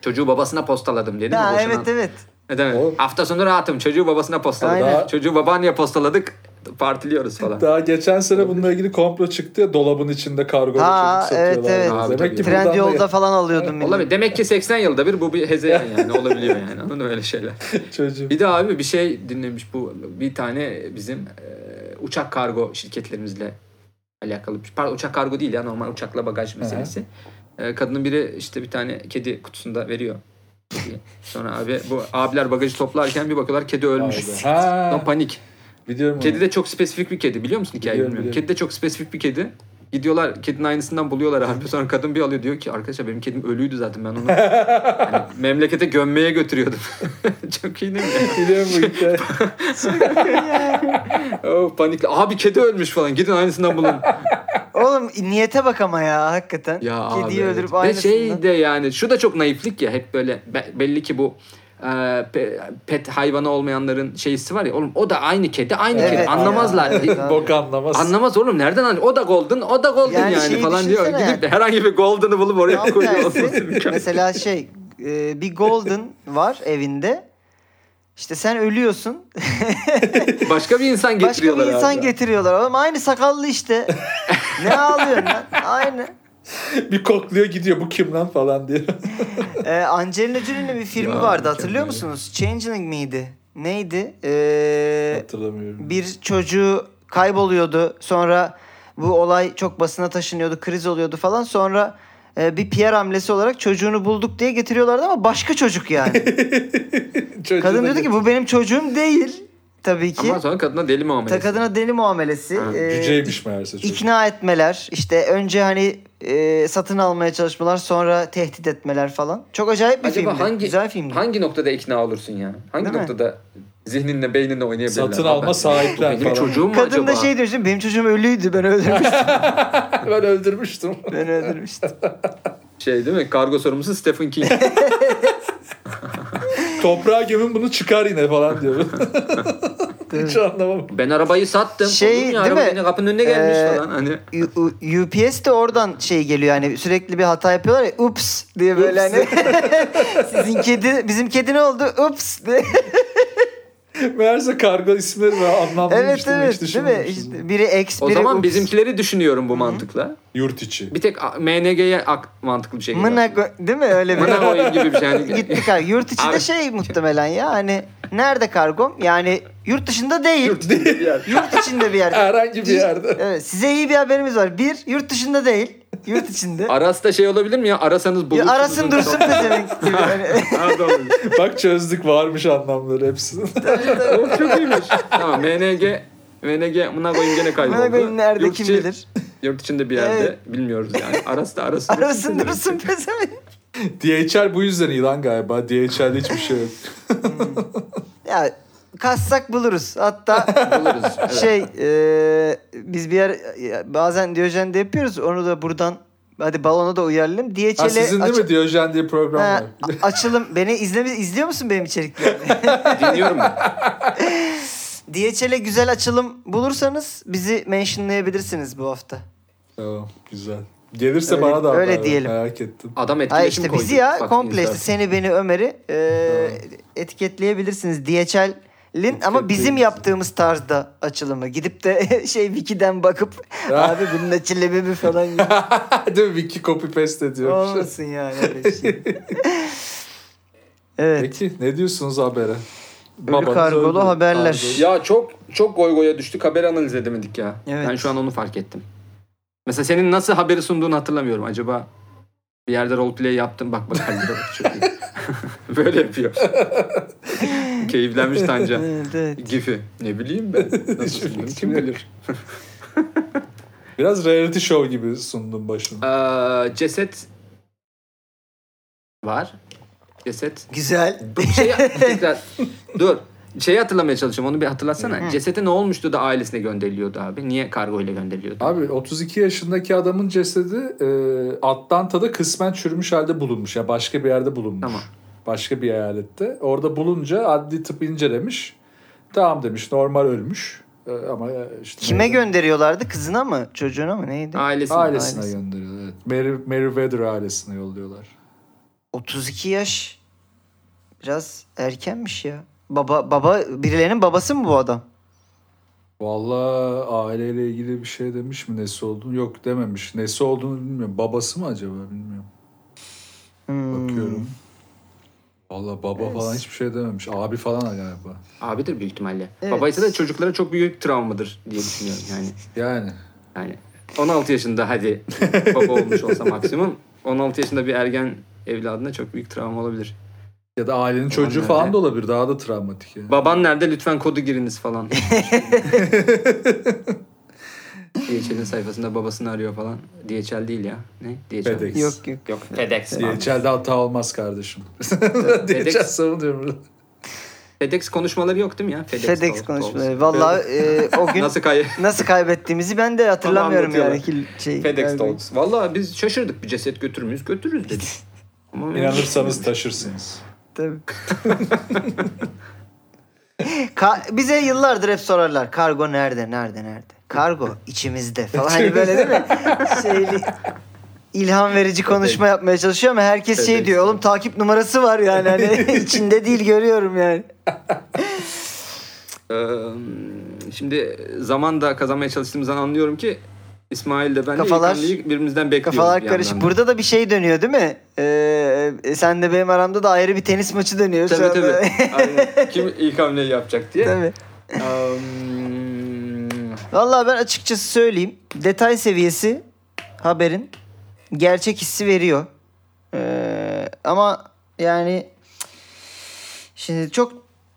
[SPEAKER 3] Çocuğu babasına postaladım dedim.
[SPEAKER 1] Ha,
[SPEAKER 3] boşanan-
[SPEAKER 1] evet evet.
[SPEAKER 3] Ne demek?
[SPEAKER 2] O-
[SPEAKER 3] Hafta sonu rahatım. Çocuğu babasına postaladık.
[SPEAKER 2] Aynen.
[SPEAKER 3] Çocuğu babaanneye postaladık. Partiliyoruz falan.
[SPEAKER 2] Daha geçen sene bununla ilgili komplo çıktı ya dolabın içinde kargo
[SPEAKER 1] Ha,
[SPEAKER 2] çocuk satıyorlar.
[SPEAKER 1] evet, evet.
[SPEAKER 2] Demek
[SPEAKER 3] Abi,
[SPEAKER 2] ki
[SPEAKER 3] tabii.
[SPEAKER 2] buradan da-
[SPEAKER 1] Trendyol'da falan alıyordum. beni.
[SPEAKER 3] Olabilir. Demek ki 80 yılda bir bu bir hezeyan yani. Olabiliyor yani. Anladın mı öyle şeyler?
[SPEAKER 2] çocuğum.
[SPEAKER 3] Bir de abi bir şey dinlemiş bu bir tane bizim e, uçak kargo şirketlerimizle alakalı. bir- Pardon uçak kargo değil ya normal uçakla bagaj meselesi. E, kadının biri işte bir tane kedi kutusunda veriyor. Kediye. Sonra abi bu abiler bagajı toplarken bir bakıyorlar kedi
[SPEAKER 2] şey
[SPEAKER 3] ölmüş. Lan
[SPEAKER 2] Ha,
[SPEAKER 3] panik.
[SPEAKER 2] biliyorum
[SPEAKER 3] Kedi
[SPEAKER 2] onu.
[SPEAKER 3] de çok spesifik bir kedi biliyor musun hikayeyi
[SPEAKER 2] Biliyorum,
[SPEAKER 3] bilmiyorum.
[SPEAKER 2] biliyorum.
[SPEAKER 3] Kedi de çok spesifik bir kedi. Gidiyorlar kedinin aynısından buluyorlar abi. Sonra kadın bir alıyor diyor ki arkadaşlar benim kedim ölüydü zaten ben onu hani memlekete gömmeye götürüyordum. çok iyi değil mi?
[SPEAKER 2] Biliyorum bu hikaye.
[SPEAKER 3] O Oh, panikle. Abi kedi ölmüş falan. Gidin aynısından bulun.
[SPEAKER 1] Oğlum niyete bak ama ya hakikaten.
[SPEAKER 3] ya
[SPEAKER 1] Kediyi
[SPEAKER 3] abi,
[SPEAKER 1] öldürüp
[SPEAKER 3] evet. Ve
[SPEAKER 1] aynısından.
[SPEAKER 3] şey de yani şu da çok naiflik ya. Hep böyle be- belli ki bu e, pe- pet hayvanı olmayanların şeysi var ya. Oğlum o da aynı kedi aynı
[SPEAKER 1] Evet
[SPEAKER 3] kedi.
[SPEAKER 1] ya,
[SPEAKER 3] Şey, Anlamazlar.
[SPEAKER 1] evet abi.
[SPEAKER 2] Bok anlamaz.
[SPEAKER 3] Anlamaz oğlum nereden anlıyor? O da golden, o da golden
[SPEAKER 1] Yani
[SPEAKER 3] yani,
[SPEAKER 1] şeyi
[SPEAKER 3] falan diyor.
[SPEAKER 1] düşünsene
[SPEAKER 3] Gidip de herhangi bir golden'ı bulup oraya
[SPEAKER 1] Tam
[SPEAKER 3] koyuyor.
[SPEAKER 1] tersi.
[SPEAKER 3] olması mükemmel.
[SPEAKER 1] mesela şey e, bir golden var evinde. İşte sen ölüyorsun.
[SPEAKER 3] Başka bir insan
[SPEAKER 1] Başka bir
[SPEAKER 3] getiriyorlar
[SPEAKER 1] insan
[SPEAKER 3] abi.
[SPEAKER 1] getiriyorlar. Oğlum aynı sakallı işte. ne ağlıyorsun lan? Aynı.
[SPEAKER 2] bir kokluyor gidiyor bu kim lan falan diye.
[SPEAKER 1] Ee, Angelina Jolie'nin bir filmi
[SPEAKER 3] Ya,
[SPEAKER 1] vardı hatırlıyor
[SPEAKER 3] mükemmel.
[SPEAKER 1] musunuz? Changeling miydi? Neydi? Ee,
[SPEAKER 2] Hatırlamıyorum.
[SPEAKER 1] bir çocuğu kayboluyordu. Sonra bu olay çok basına taşınıyordu. Kriz oluyordu falan. Sonra e, bir PR hamlesi olarak çocuğunu bulduk diye getiriyorlardı ama başka çocuk yani.
[SPEAKER 2] Çocuğu da
[SPEAKER 1] Kadın diyordu ki bu benim çocuğum değil. Tabii ki.
[SPEAKER 3] Ama sonra kadına deli
[SPEAKER 1] Ta
[SPEAKER 3] muamelesi.
[SPEAKER 1] kadına deli muamelesi.
[SPEAKER 3] Ha,
[SPEAKER 1] e,
[SPEAKER 2] Cüceymiş meğerse çocuk.
[SPEAKER 1] ikna etmeler. işte önce hani e, satın almaya çalışmalar. Sonra tehdit etmeler falan. Çok acayip bir
[SPEAKER 3] Acaba
[SPEAKER 1] filmdi.
[SPEAKER 3] hangi
[SPEAKER 1] Güzel filmdi.
[SPEAKER 3] hangi noktada ikna olursun ya? Hangi
[SPEAKER 1] Değil mi?
[SPEAKER 3] noktada zihninle beyninle oynayabilirler?
[SPEAKER 2] Satın
[SPEAKER 3] Abi
[SPEAKER 2] alma
[SPEAKER 3] ben-
[SPEAKER 2] sahiplen
[SPEAKER 3] Benim
[SPEAKER 2] falan.
[SPEAKER 3] çocuğum mu
[SPEAKER 1] Kadın
[SPEAKER 3] acaba?
[SPEAKER 1] da şey diyor şimdi benim çocuğum ölüydü ben öldürmüştüm.
[SPEAKER 2] ben öldürmüştüm.
[SPEAKER 1] ben öldürmüştüm.
[SPEAKER 3] Şey değil mi? Kargo sorumlusu Stephen King.
[SPEAKER 2] Toprağa gömün bunu çıkar yine falan diyor. Hiç anlamam.
[SPEAKER 3] ben arabayı sattım.
[SPEAKER 1] Şey,
[SPEAKER 3] Oğlum ya,
[SPEAKER 1] değil
[SPEAKER 3] araba
[SPEAKER 1] mi?
[SPEAKER 3] yine kapının önüne gelmiş
[SPEAKER 1] Ee,
[SPEAKER 3] falan. Hani
[SPEAKER 1] U- U- UPS de oradan şey geliyor yani sürekli bir hata yapıyorlar ya ups diye böyle
[SPEAKER 2] Ups.
[SPEAKER 1] hani sizin kedi bizim kedi ne oldu ups diye.
[SPEAKER 2] Meğerse kargo isimleri de
[SPEAKER 1] evet
[SPEAKER 2] anlamlıymış.
[SPEAKER 1] evet
[SPEAKER 2] hiç
[SPEAKER 1] değil mi?
[SPEAKER 2] düşünmemiştim.
[SPEAKER 1] İşte biri ex
[SPEAKER 3] o
[SPEAKER 1] biri
[SPEAKER 3] zaman
[SPEAKER 1] ups.
[SPEAKER 3] bizimkileri düşünüyorum bu mantıkla.
[SPEAKER 2] Yurt içi.
[SPEAKER 3] Bir tek A- MNG'ye ak- mantıklı bir şey geliyor.
[SPEAKER 1] Monaco değil mi öyle bir
[SPEAKER 3] Mına oyun gibi bir şey. Hani-
[SPEAKER 1] gittik abi. Yurt içi de
[SPEAKER 3] Abi-
[SPEAKER 1] şey muhtemelen ya hani nerede kargom? Yani yurt dışında değil. Yurt,
[SPEAKER 2] Bir yer.
[SPEAKER 1] içinde bir yer.
[SPEAKER 2] Herhangi bir yerde.
[SPEAKER 1] Evet, size iyi bir haberimiz var. Bir, yurt dışında değil. Yurt içinde.
[SPEAKER 3] Aras da şey olabilir mi ya? Arasanız
[SPEAKER 1] Ya
[SPEAKER 3] bulursunuz.
[SPEAKER 1] arasın dursun pezevenk gibi. Hani-
[SPEAKER 3] Pardon.
[SPEAKER 2] Bak çözdük varmış anlamları hepsinin.
[SPEAKER 3] Oğlum çok iyiymiş. tamam MNG. MNG buna koyayım gene kayboldu.
[SPEAKER 1] Monaco'nun nerede
[SPEAKER 3] Yurt
[SPEAKER 1] kim
[SPEAKER 3] içi-
[SPEAKER 1] bilir?
[SPEAKER 3] Yurt içinde bir yerde
[SPEAKER 1] Evet.
[SPEAKER 3] bilmiyoruz yani. Aras da arasın.
[SPEAKER 1] Arasın dursun pezevenk.
[SPEAKER 2] DHL bu yüzden ilan galiba. DHL'de hiçbir şey yok.
[SPEAKER 1] Ya kassak buluruz. Hatta
[SPEAKER 3] Buluruz. Evet.
[SPEAKER 1] şey e, biz bir yer e, bazen Diyojen de yapıyoruz. Onu da buradan hadi balona da uyarlayalım. DHL'e
[SPEAKER 2] Ha, sizin değil
[SPEAKER 1] aç-
[SPEAKER 2] mi Diyojen diye program
[SPEAKER 1] Ha,
[SPEAKER 2] var.
[SPEAKER 1] a- açılım. Beni izleme, izliyor musun benim içeriklerimi?
[SPEAKER 3] Dinliyorum ben.
[SPEAKER 1] DHL'e güzel açılım bulursanız bizi mentionlayabilirsiniz bu hafta.
[SPEAKER 2] Tamam güzel. Gelirse
[SPEAKER 1] Öyle-
[SPEAKER 2] bana da haber
[SPEAKER 1] öyle
[SPEAKER 2] ver,
[SPEAKER 1] diyelim.
[SPEAKER 2] Merak ettim.
[SPEAKER 3] Adam etkileşim
[SPEAKER 1] Hayır işte
[SPEAKER 3] koydu.
[SPEAKER 1] bizi ya
[SPEAKER 3] Bak,
[SPEAKER 1] komple işte
[SPEAKER 3] insan.
[SPEAKER 1] seni beni Ömer'i e, etiketleyebilirsiniz DHL'in ama bizim
[SPEAKER 2] Etiketleyebiliriz.
[SPEAKER 1] yaptığımız tarzda açılımı. Gidip de şey Wiki'den bakıp abi bunun açılımı mı falan gibi.
[SPEAKER 2] Değil mi? Wiki copy paste ediyormuş.
[SPEAKER 1] Olmasın yani öyle bir şey. evet.
[SPEAKER 2] Peki ne diyorsunuz habere?
[SPEAKER 1] Ölü
[SPEAKER 2] Babanız
[SPEAKER 1] kargolu
[SPEAKER 2] öldü.
[SPEAKER 1] haberler.
[SPEAKER 2] Kargolu.
[SPEAKER 3] Ya çok çok goy goya düştük. Haber analiz edemedik ya.
[SPEAKER 1] Evet.
[SPEAKER 3] Ben şu an onu fark ettim. Mesela senin nasıl haberi sunduğunu hatırlamıyorum. Acaba bir yerde roleplay yaptım. Bak bak halde bak, çok iyi. Böyle yapıyor. Keyiflenmiş Tanca.
[SPEAKER 1] Evet, evet.
[SPEAKER 3] Gifi. Ne bileyim ben. Nasıl sunayım, kim bilir.
[SPEAKER 2] Biraz reality show gibi sundum başını.
[SPEAKER 3] Ee, ceset var. Ceset.
[SPEAKER 1] Güzel.
[SPEAKER 3] Bu şey tekrar. Dur. Şeyi hatırlamaya çalışıyorum. Onu bir hatırlatsana. Cesete ne olmuştu da ailesine gönderiliyordu abi? Niye kargo ile gönderiliyordu?
[SPEAKER 2] Abi 32 yaşındaki adamın cesedi e, Atlanta'da kısmen çürümüş halde bulunmuş. Ya başka bir yerde bulunmuş.
[SPEAKER 3] Tamam.
[SPEAKER 2] Başka bir eyalette. Orada bulunca adli tıp incelemiş. Tamam demiş normal ölmüş. E, ama işte
[SPEAKER 1] Kime
[SPEAKER 2] neydi?
[SPEAKER 1] gönderiyorlardı? Kızına mı? Çocuğuna mı? Neydi?
[SPEAKER 3] Ailesine.
[SPEAKER 2] Ailesine
[SPEAKER 1] Ailesi.
[SPEAKER 2] gönderiyor. Evet. Mary, Meriwether ailesine yolluyorlar.
[SPEAKER 1] 32 yaş. Biraz erkenmiş ya. Baba baba birilerinin babası mı bu adam?
[SPEAKER 2] Vallahi aileyle ilgili bir şey demiş mi nesi olduğunu? Yok dememiş. Nesi olduğunu bilmiyorum. Babası mı acaba bilmiyorum.
[SPEAKER 1] Hmm.
[SPEAKER 2] Bakıyorum. Vallahi baba falan hiçbir şey dememiş. Abi falan galiba.
[SPEAKER 4] Abidir büyük ihtimalle.
[SPEAKER 1] Evet.
[SPEAKER 3] Babaysa da çocuklara çok büyük travmadır diye düşünüyorum yani.
[SPEAKER 2] Yani
[SPEAKER 3] Yani 16 yaşında hadi baba olmuş olsa maksimum 16 yaşında bir ergen evladına çok büyük travma olabilir.
[SPEAKER 2] ya da ailenin çocuğu
[SPEAKER 3] nerede?
[SPEAKER 2] falan da olabilir. Daha da travmatik yani.
[SPEAKER 3] Baban nerede lütfen kodu giriniz falan. DHL'in sayfasında babasını arıyor falan. DHL değil ya. Ne? DHL.
[SPEAKER 2] FedEx.
[SPEAKER 1] Yok yok.
[SPEAKER 3] Yok FedEx.
[SPEAKER 2] DHL'de hata olmaz kardeşim. DHL
[SPEAKER 3] FedEx.
[SPEAKER 2] savunuyorum.
[SPEAKER 3] FedEx konuşmaları yok değil mi ya?
[SPEAKER 1] FedEx
[SPEAKER 3] tavuk- tavuk.
[SPEAKER 1] konuşmaları. Vallahi e, o gün
[SPEAKER 3] Nasıl kay
[SPEAKER 1] nasıl kaybettiğimizi ben de hatırlamıyorum
[SPEAKER 3] Bana
[SPEAKER 1] yani.
[SPEAKER 3] anlatıyorlar.
[SPEAKER 1] Kil- Şey,
[SPEAKER 3] FedEx
[SPEAKER 1] galiba.
[SPEAKER 3] Talks. Vallahi biz şaşırdık bir ceset götürür müyüz? Götürürüz dedik. Ama yani-
[SPEAKER 2] İnanırsanız taşırsınız.
[SPEAKER 1] Tabii. Ka- bize yıllardır hep sorarlar. Kargo nerede? Nerede? Nerede? Kargo içimizde falan. Hani böyle değil mi? Şeyli, ilham verici konuşma yapmaya çalışıyor ama herkes şey
[SPEAKER 3] FedEx.
[SPEAKER 1] diyor. Oğlum takip numarası var yani. Hani içinde değil görüyorum yani.
[SPEAKER 3] Ee, şimdi zaman da kazanmaya çalıştığımızdan anlıyorum ki İsmail de ben
[SPEAKER 1] Kafalar-
[SPEAKER 3] de İlkan'la birbirimizden bekliyoruz. bir
[SPEAKER 1] Kafalar
[SPEAKER 3] yandan
[SPEAKER 1] karışık.
[SPEAKER 3] da.
[SPEAKER 1] Burada da bir şey dönüyor değil mi? Ee, e, sen de benim aramda da ayrı bir tenis maçı dönüyor. şu
[SPEAKER 3] Tabii
[SPEAKER 1] anda.
[SPEAKER 3] tabii. Aynen. Kim ilk hamleyi yapacak diye.
[SPEAKER 1] tabii.
[SPEAKER 3] Um,
[SPEAKER 1] Vallahi ben açıkçası söyleyeyim. Detay seviyesi haberin gerçek hissi veriyor. Ee, ama yani şimdi çok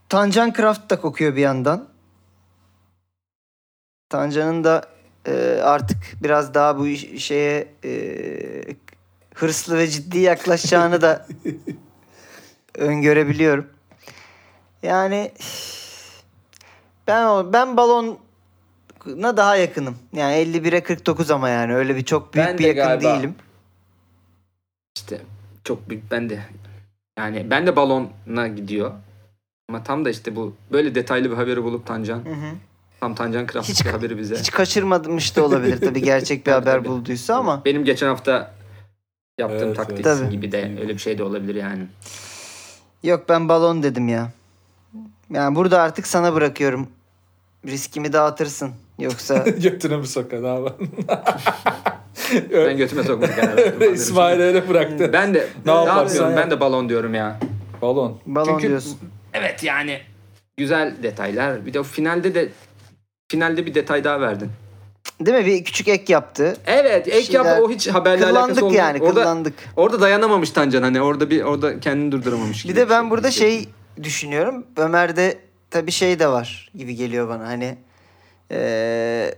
[SPEAKER 1] Tancan Craft da kokuyor bir yandan. Tancan'ın da e, artık biraz daha bu iş- şeye e, hırslı ve ciddi yaklaşacağını da öngörebiliyorum. Yani ben o- ben balona daha yakınım. Yani 51'e 49 ama yani öyle bir çok büyük
[SPEAKER 3] Ben
[SPEAKER 1] bir
[SPEAKER 3] de
[SPEAKER 1] yakın
[SPEAKER 3] galiba.
[SPEAKER 1] değilim.
[SPEAKER 3] işte çok büyük ben de yani ben de balona gidiyor. Ama tam da işte bu böyle detaylı bir haberi bulup Tancan.
[SPEAKER 1] Hı hı.
[SPEAKER 3] Tam Tancan Kraft
[SPEAKER 1] Hiç-
[SPEAKER 3] bir haberi bize.
[SPEAKER 1] Hiç kaçırmamış da olabilir tabii gerçek bir
[SPEAKER 3] Tabii,
[SPEAKER 1] haber
[SPEAKER 3] tabii.
[SPEAKER 1] bulduysa ama
[SPEAKER 3] Benim geçen hafta yaptığım
[SPEAKER 2] Evet,
[SPEAKER 3] taktik
[SPEAKER 1] evet. Tabii.
[SPEAKER 3] gibi de öyle bir şey de olabilir yani.
[SPEAKER 1] yok ben balon dedim ya. Yani burada artık sana bırakıyorum. Riskimi dağıtırsın. Yoksa
[SPEAKER 2] Götüne mi sokan abi?
[SPEAKER 3] Ben götüme sokmak kararı
[SPEAKER 2] Öyle İsmail öyle bıraktı.
[SPEAKER 3] Ben de
[SPEAKER 2] Ne
[SPEAKER 3] ne,
[SPEAKER 2] yaparsan
[SPEAKER 3] yapıyorum?
[SPEAKER 2] yap.
[SPEAKER 3] Ben de balon diyorum ya.
[SPEAKER 2] Balon.
[SPEAKER 1] balon
[SPEAKER 3] Çünkü-
[SPEAKER 1] diyorsun.
[SPEAKER 3] Evet yani güzel detaylar. Bir de o finalde de finalde bir detay daha verdin.
[SPEAKER 1] Değil mi? Bir küçük ek yaptı.
[SPEAKER 3] Evet, ek
[SPEAKER 1] Şeyler-
[SPEAKER 3] yap o hiç haberle alakası
[SPEAKER 1] Kullandık
[SPEAKER 3] olmayan.
[SPEAKER 1] yani
[SPEAKER 3] orada
[SPEAKER 1] kullandık.
[SPEAKER 3] orada dayanamamış Tancan hani orada bir orada kendini durduramamış.
[SPEAKER 1] Bir
[SPEAKER 3] gibi
[SPEAKER 1] de ben burada
[SPEAKER 3] hissettim.
[SPEAKER 1] şey düşünüyorum. Ömer'de tabii şey de var gibi geliyor bana. Hani eee,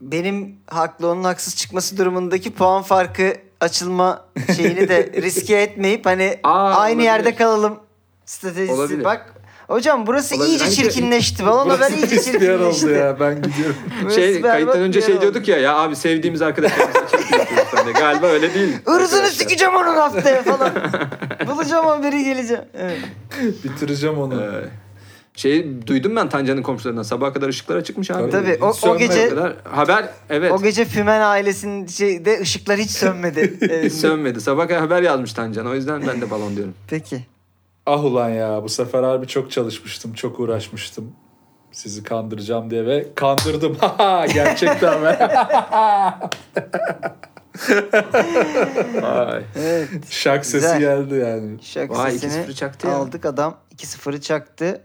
[SPEAKER 1] benim haklı onun haksız çıkması durumundaki puan farkı açılma şeyini de riske etmeyip hani
[SPEAKER 3] Aa,
[SPEAKER 1] aynı
[SPEAKER 3] olabilir.
[SPEAKER 1] yerde kalalım stratejisi.
[SPEAKER 3] Olabilir.
[SPEAKER 1] Bak hocam burası
[SPEAKER 3] Olabilir.
[SPEAKER 1] iyice
[SPEAKER 3] Bence-
[SPEAKER 1] çirkinleşti. Balon haber
[SPEAKER 2] Burası
[SPEAKER 1] iyice
[SPEAKER 2] pis bir yer oldu
[SPEAKER 1] çirkinleşti.
[SPEAKER 2] ya. Ben gidiyorum.
[SPEAKER 1] Burası
[SPEAKER 3] şey
[SPEAKER 1] berbat
[SPEAKER 3] kayıttan önce
[SPEAKER 1] bir
[SPEAKER 3] şey
[SPEAKER 1] yer oldu.
[SPEAKER 3] diyorduk ya ya abi sevdiğimiz arkadaşlarımız için yapıyoruz sen de. Galiba öyle değil.
[SPEAKER 1] Irızını
[SPEAKER 3] arkadaşlar.
[SPEAKER 1] sikeceğim onun haftaya falan. Bulacağım haberi geleceğim. Evet.
[SPEAKER 2] Bitireceğim onu.
[SPEAKER 3] Ee, şey duydum ben Tancan'ın komşularından sabaha kadar ışıklar çıkmış abi.
[SPEAKER 1] Tabii,
[SPEAKER 2] Hiç
[SPEAKER 1] o- o
[SPEAKER 2] sönmedi.
[SPEAKER 1] gece-
[SPEAKER 3] kadar haber evet
[SPEAKER 1] O gece Fümen ailesinin şeyde ışıklar hiç sönmedi. Ee, Evet.
[SPEAKER 3] sönmedi. Sabah kadar haber yazmış Tancan. O yüzden ben de balon diyorum.
[SPEAKER 1] Peki.
[SPEAKER 2] Ah ulan ya bu sefer harbi çok çalışmıştım. Çok uğraşmıştım. Sizi kandıracağım diye ve kandırdım. Haha, Gerçekten ben.
[SPEAKER 3] Ay.
[SPEAKER 1] Evet.
[SPEAKER 2] Şak sesi
[SPEAKER 1] Güzel.
[SPEAKER 2] geldi yani.
[SPEAKER 1] Şak
[SPEAKER 3] Vay,
[SPEAKER 1] sesini
[SPEAKER 3] 2-0 çaktı ya.
[SPEAKER 1] aldık adam 2-0'ı çaktı.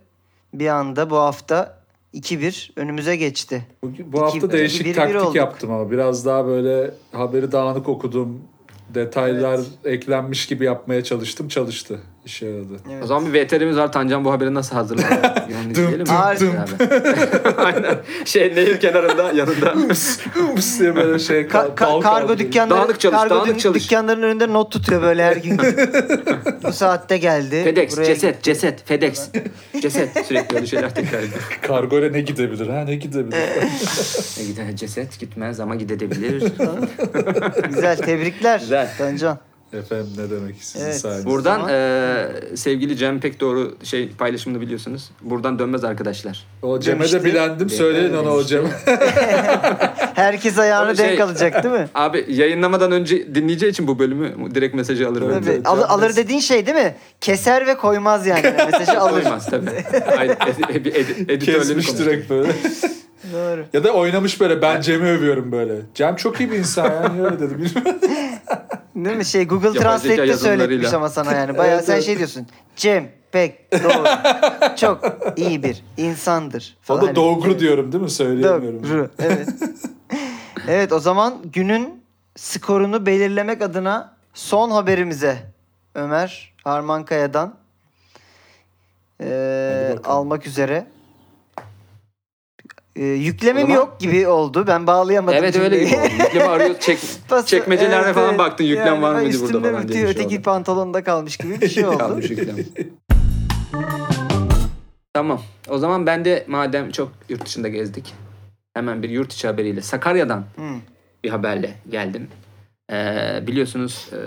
[SPEAKER 1] Bir anda bu hafta 2-1 önümüze geçti.
[SPEAKER 2] Bugün, bu hafta
[SPEAKER 1] İki-
[SPEAKER 2] değişik
[SPEAKER 1] bir- bir
[SPEAKER 2] taktik
[SPEAKER 1] olduk.
[SPEAKER 2] yaptım ama biraz daha böyle haberi dağınık okudum. Detaylar eklenmiş gibi yapmaya çalıştım. Çalıştı. İşe yaradı.
[SPEAKER 1] Evet.
[SPEAKER 3] O zaman bir VTR'imiz var. Tancan bu haberi nasıl hazırladı? Bir onu izleyelim mi?
[SPEAKER 2] dım,
[SPEAKER 1] dım.
[SPEAKER 3] Beraber. Aynen. Şey nehir kenarında yanında.
[SPEAKER 2] Hıps diye böyle şey
[SPEAKER 1] Ka- ka- kargo
[SPEAKER 2] dal kaldırıyor.
[SPEAKER 1] dükkanları
[SPEAKER 3] Dağınık çalış,
[SPEAKER 1] kargo
[SPEAKER 3] dağınık
[SPEAKER 1] dük-
[SPEAKER 3] çalış.
[SPEAKER 1] dükkanlarının önünde not tutuyor böyle her gün. bu saatte geldi.
[SPEAKER 3] FedEx,
[SPEAKER 1] buraya
[SPEAKER 3] ceset, ceset, FedEx. ceset sürekli öyle şeyler tekrar ediyor.
[SPEAKER 2] Kargoyla ne gidebilir ha ne gidebilir.
[SPEAKER 3] E, gide- Ceset gitmez ama gidebilir.
[SPEAKER 1] gitti. Güzel tebrikler.
[SPEAKER 3] Güzel.
[SPEAKER 1] Tancan.
[SPEAKER 2] Efendim ne demek sizin
[SPEAKER 1] Evet.
[SPEAKER 2] sayenizde.
[SPEAKER 3] Buradan
[SPEAKER 1] Tamam.
[SPEAKER 3] e, sevgili Cem pek doğru şey paylaşımını biliyorsunuz. Buradan dönmez arkadaşlar.
[SPEAKER 2] O Cem'e de
[SPEAKER 1] demişti.
[SPEAKER 2] bilendim. Söyleyin ona o Cem'e.
[SPEAKER 1] Herkes ayağını
[SPEAKER 3] Tabii şey-
[SPEAKER 1] denk alacak değil mi?
[SPEAKER 3] Abi yayınlamadan önce dinleyeceği için bu bölümü direkt mesajı alır.
[SPEAKER 1] Tabii.
[SPEAKER 3] bence.
[SPEAKER 1] Al- alır dediğin şey değil mi? Keser ve koymaz yani. Mesajı alır.
[SPEAKER 3] Koymaz tabii. Aynen, ed- ed- ed- editörlü bir
[SPEAKER 2] Kesmiş
[SPEAKER 3] konu.
[SPEAKER 2] direkt böyle.
[SPEAKER 1] Doğru.
[SPEAKER 2] ya da oynamış böyle ben Cem'i övüyorum böyle. Cem çok iyi bir insan ya. Niye öyle dedim bilmiyorum.
[SPEAKER 1] Değil mi? Şey Google
[SPEAKER 3] Yapay zeka
[SPEAKER 1] Translate'te
[SPEAKER 3] yazılımlarıyla.
[SPEAKER 1] söyletmiş ama sana yani. Bayağı
[SPEAKER 2] Evet,
[SPEAKER 1] sen
[SPEAKER 2] evet.
[SPEAKER 1] şey diyorsun. Cem pek doğru. Çok iyi bir insandır.
[SPEAKER 2] O
[SPEAKER 1] falan.
[SPEAKER 2] da
[SPEAKER 1] Hani-
[SPEAKER 2] doğru diyorum değil mi? Söyleyemiyorum.
[SPEAKER 1] Doğru. Evet. evet o zaman günün skorunu belirlemek adına son haberimize Ömer Harman Kaya'dan eee,
[SPEAKER 2] Hadi bakalım.
[SPEAKER 1] almak üzere. Eee, yüklemem
[SPEAKER 4] O zaman-
[SPEAKER 1] yok gibi oldu. Ben bağlayamadım.
[SPEAKER 4] Evet öyle
[SPEAKER 1] cümleyi.
[SPEAKER 4] gibi oldu. Yükleme arıyor çek,
[SPEAKER 1] Bası-
[SPEAKER 3] Çekmecelerine
[SPEAKER 1] evet,
[SPEAKER 3] falan
[SPEAKER 1] evet.
[SPEAKER 3] baktın yüklem
[SPEAKER 1] Yani
[SPEAKER 3] var
[SPEAKER 1] ben
[SPEAKER 3] mıydı burada
[SPEAKER 1] üstümde
[SPEAKER 3] falan diye
[SPEAKER 1] bitiyor,
[SPEAKER 3] bir şey
[SPEAKER 1] Öteki
[SPEAKER 3] oldu.
[SPEAKER 1] pantolonda kalmış gibi bir şey oldu.
[SPEAKER 3] Kalmış yüklem. tamam. O zaman ben de madem çok yurt dışında gezdik. Hemen bir yurt içi haberiyle. Sakarya'dan
[SPEAKER 1] Hı.
[SPEAKER 3] bir haberle geldim. Ee, biliyorsunuz ee,